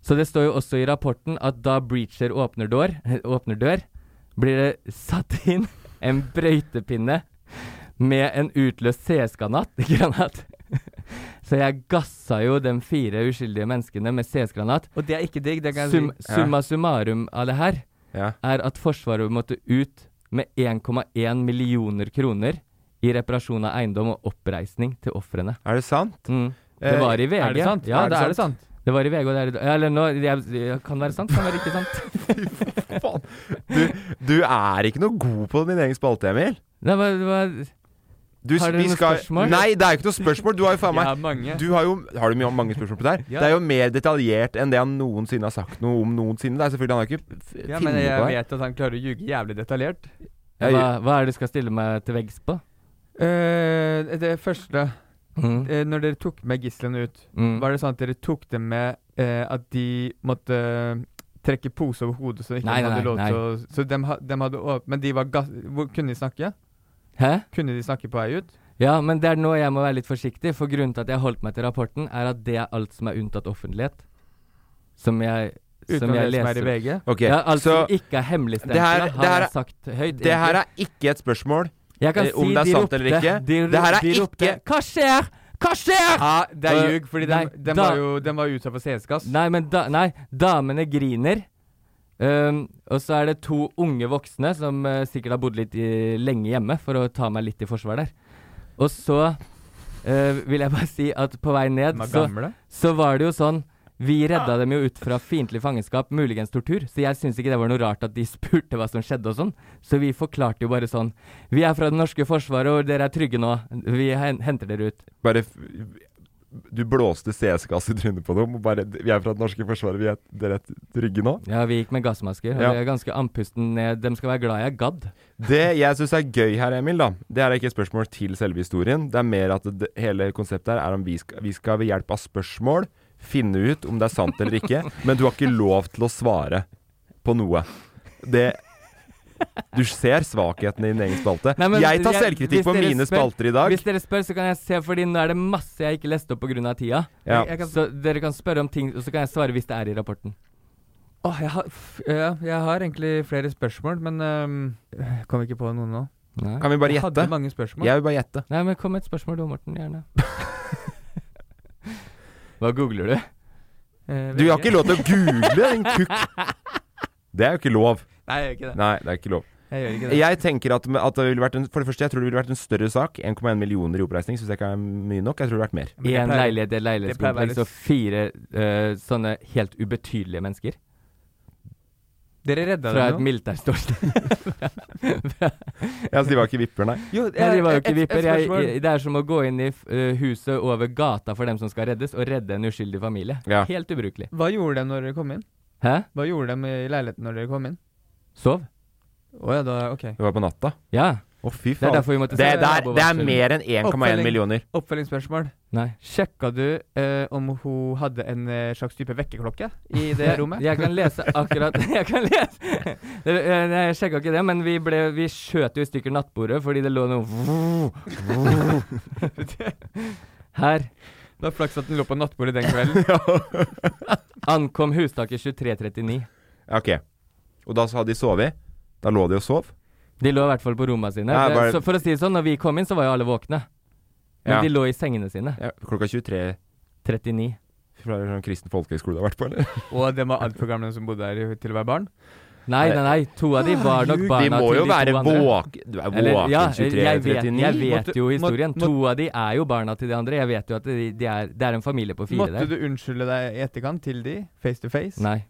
Så det står jo også i rapporten at da breacher åpner dør, (laughs) åpner dør blir det satt inn en brøytepinne med en utløst CS-granat. granat. Så jeg gassa jo de fire uskyldige menneskene med CS-granat.
Og det er ikke digg. Det kan jeg
Sum,
si.
summa summarum av det her
Ja.
er at Forsvaret måtte ut med 1,1 millioner kroner i reparasjon av eiendom og oppreisning til ofrene.
Er det sant?
Mm. Det var i VG.
Eh, Er det sant?
Ja,
er, det, er det sant?
Det var i VG, og det er i dag. Eller nå jeg, jeg, Kan være sant, kan være ikke
(laughs)
sant.
Faen. Du, du er ikke noe god på din egen spalte, Emil.
Det var, det var
Du,
Har dere
vi
noen spørsmål?
Nei, det er ikke noe spørsmål. Du har jo faen
(laughs)
meg
Ja, mange.
du har, jo, har du mye- mange spørsmål på det her?
Ja.
Det er jo mer detaljert enn det han noensinne har sagt noe om noensinne. Det er selvfølgelig Han har ikke f-
Ja,
funnet
men jeg
på det. her.
vet at han klarer å ljuge jævlig detaljert.
Jeg-
hva, hva er det du skal stille meg til veggs på?
Eh, det første
Mm.
eh, Når dere tok med gislene ut,
Mm.
var det sånn at dere tok dem med eh, at de måtte eh, trekke pose over hodet, så de ikke
Nei, nei,
hadde lov
nei,
til å Så dem, ha- dem hadde å- Men de var gass... Hvor, kunne de snakke?
Hæ?
Kunne de snakke på vei ut?
Ja, men det er nå jeg må være litt forsiktig, for grunnen til at jeg holdt meg til rapporten, er at det er alt som er unntatt offentlighet. Som jeg,
Uten
som
det
jeg
som er
leser.
i VG?
Ok,
ja, altså, alt
så
som ikke er hemmeligstemt,
Det her-
har
det her er-
jeg sagt høyt.
det her er ikke et spørmål.
jeg kan
eh,
si
om det er
de
sant
ropte,
eller ikke.
De,
Det her er
de ropte,
ikke-
Hva skjer? Hva skjer?
Ja, det er
Øh,
ljug, fordi
nei,
dem, dem
da-
var jo dem var jo utsatt for CS-gass.
Nei, men da, nei, damene griner. Ehm, og så er det to unge voksne som eh, sikkert har bodd litt i, lenge hjemme, for å ta meg litt i forsvar der. Og så eh, vil jeg bare si at på vei ned
De var
så,
gamle.
så var det jo sånn Vi redda dem jo ut fra fiendtlig fangenskap, muligens tortur, så jeg syns ikke det var noe rart at de (laughs) spurte hva som skjedde og sånn. Så vi forklarte jo bare sånn Vi er fra det norske forsvaret, og dere er trygge nå. Vi hen henter dere ut.
Bare f Du blåste CS-gass i trynet på dem. og Bare, vi er fra det norske forsvaret. Vi er dere er trygge nå.
Ja, vi gikk med gassmasker, og
Ja.
vi er ganske andpusten ned. Dem skal være glad jeg gadd.
Det jeg syns er gøy her, Emil, da det er ikke et spørsmål til selve historien. Det er mer at det, hele konseptet her er om vi skal, vi skal ved hjelp av spørsmål finne ut om det er sant eller
(laughs)
ikke, men du har ikke lov til å svare på noe. Det Du ser svakheten i din egen spalte.
Nei, men
jeg tar
jeg-
selvkritikk
hvis
på
dere
mine
spør-
spalter i dag.
Hvis dere spør, så kan jeg se, fordi nå er det masse jeg ikke leste opp pga. tida.
Ja.
Jeg kan-
Så dere kan spørre om ting, og så kan jeg svare hvis det er i rapporten.
Åh, jeg, har, f ja, jeg har egentlig flere spørsmål, men øhm, jeg kom ikke på noen nå.
Nei,
Kan vi bare
Jeg hadde
gjette?
mange spørsmål.
Jeg vil bare gjette.
Nei men kom med et spørsmål du, Morten.
(laughs)
Gjerne. Hva googler du?
Eh,
Du har
VG.
ikke lov til å google, din kukk! Det er jo ikke lov.
Nei, jeg gjør ikke det.
Nei, det er ikke lov.
Jeg gjør ikke det.
Jeg tenker at, at det ville vært en, For det første, jeg tror det ville vært en større sak. 1,1 millioner i oppreisning syns jeg ikke er mye nok. Jeg tror det ville vært
(laughs)
mer.
Men
Én
jeg pleier-
leilighet i et
det pleier å være-
leilighetskompleks og fire eh, sånne helt ubetydelige mennesker.
Dere redda
Fra
dere
et
nå. (laughs)
militærståsted.
Ja, så de var ikke vipper, nei.
Jo,
Nei,
jeg-
de var jo ikke
et- et
vipper. Jeg,
spørsmål.
jeg, det er som å gå inn i f- eh, huset over gata for dem som skal reddes, og redde en uskyldig familie.
Ja.
Helt ubrukelig.
Hva gjorde de når dere kom inn?
Hæ?
Hva gjorde de i leiligheten når dere kom inn?
Sov?
Å ja, da OK.
Det var på natta.
Ja.
Å, fy
Det er
faen.
derfor vi måtte
Det,
sende
der, det er
nabovarsel.
mer enn 1,1
Oppfølging.
millioner.
Oppfølgingsspørsmål.
Nei.
Sjekka du eh, om hun hadde en eh, slags type vekkerklokke i det
(laughs) Jeg-
rommet?
Jeg kan lese akkurat (laughs) Jeg kan lese Det- eh, nei, Jeg sjekka ikke det, men vi, ble, vi skjøt jo i stykker nattbordet fordi det lå noe (laughs) Her
Det var flaks at den lå på nattbordet den
(laughs)
kvelden.
ankom hustaket 2339.
Ja, Ok. Og da så hadde de sovet. Da lå de og sov.
De lå i hvert fall på rommene sine.
Ja,
Det-
bare-
Så for å si det sånn, når vi kom inn, så var jo alle våkne. Men
Ja.
de lå i sengene sine.
Ja, klokka 23
39.
fra en sånn kristen folkehøgskole du har vært på, eller?
Og de var altfor gamle som bodde her til å være barn.
Nei, nei, nei. To av de var nok
De
barna
må
til
jo
de
være
to andre.
våken Du er
Eller,
våken
ja, jeg vet,
23-39.
jeg vet
Måtte-
jo historien.
måtte-
To av de er jo barna til de andre. Jeg vet jo at de, de er, det er en familie på fire
Måtte
der.
du unnskylde deg i etterkant til de, face to face?
Nei.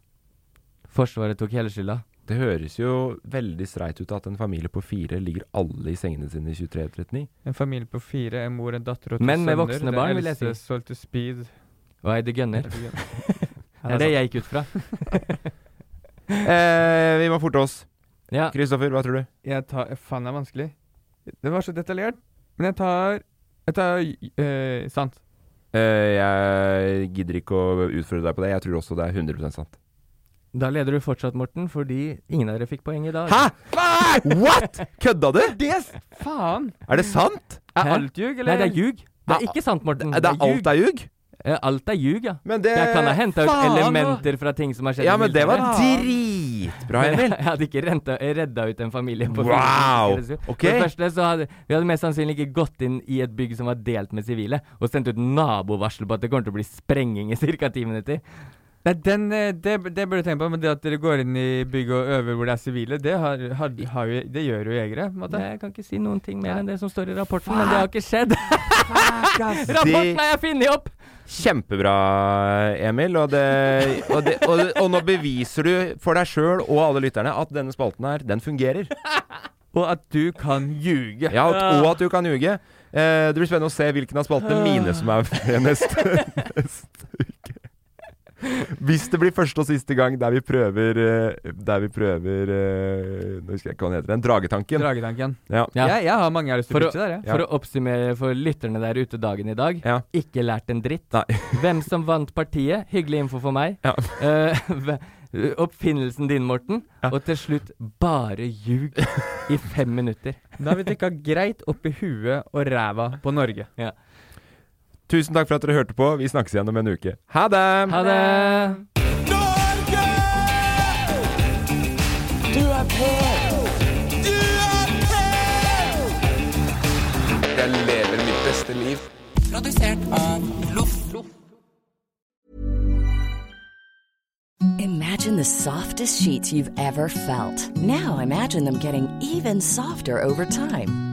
Forsvaret tok hele skylda.
Det høres jo veldig streit ut at en familie på fire ligger alle i sengene sine
(laughs)
i 23-39.
En familie på fire, en mor, en datter og to
Men med
sønner.
voksne barn, vil jeg
Den eldste solgte
(laughs)
speed.
Og Eide Gunner. Det
er
er det jeg gikk ut fra.
Eh, vi må forte oss.
Ja.
Kristoffer, hva tror du?
Jeg tar eh, Faen, det er vanskelig. Det var så detaljert. Men jeg tar Jeg tar eh, sant.
Eh, jeg gidder ikke å utfordre deg på det. Jeg tror også det er 100 sant.
Da leder du fortsatt, Morten, fordi ingen av dere fikk poeng i dag.
Hæ?! Hva? What?! Kødda du?!
Faen!
Er det sant?!
Er
Hæ?
alt ljug,
Nei,
eller?
det er ljug. Det er
Ja,
ikke sant, Morten.
Det er alt er ljug!
Ja, alt er ljug, ja.
Men det
Jeg kan ha henta ut
Faen,
elementer fra ting som har skjedd.
Ja,
i
men det var
militæret.
dritbra,
Men
Emil!
(laughs) Jeg hadde ikke renta, redda ut en familie på
Wow!
fire mennesker.
Ok.
For det første så hadde Vi hadde mest sannsynlig ikke gått inn i et bygg som var delt med sivile, og sendt ut nabovarsel på at det kommer til å bli sprenging i ca. ti minutter.
Nei, den, eh, det, det burde du tenke på, men det at dere går inn i bygg og øver hvor det er sivile, det, har, har, har jo, det gjør jo jegere. på en måte.
Jeg kan ikke si noen ting mer enn det som står i rapporten, men det har ikke skjedd.
Det-
(laughs) Rapporten har jeg funnet opp!
Kjempebra, Emil. Og, det, og, det, og, og nå beviser du for deg sjøl og alle lytterne at denne spalten her, den fungerer.
Og at du kan ljuge.
Ja, og, og at du kan ljuge. Eh, det blir spennende å se hvilken av spaltene mine som er (laughs) med neste, neste uke. Hvis det blir første og siste gang der vi prøver eh, Der vi prøver eh, Nå husker jeg ikke hva den heter. Den dragetanken.
Dragetanken.
Ja.
Ja.
Jeg, jeg har mange jeg har lyst til
For å-
å pitche der, jeg.
Ja.
For å oppsummere for lytterne der ute dagen i dag.
Ja.
Ikke lært en dritt.
Nei.
(laughs) Hvem som vant partiet. Hyggelig info for meg.
Ja.
(laughs) Eh, hve- oppfinnelsen din, Morten. Og til slutt bare ljug i fem
(laughs)
minutter.
Da har vi trykka greit opp i huet og ræva på Norge.
Tusen takk for at dere hørte på. Vi snakkes igjen om en uke. Ha det!
Ha det!
Du er på! Du er på!
Jeg lever mitt beste liv.
Produsert av Loff.
Imagine the softest sheets you've ever felt. Now imagine them getting even softer over time.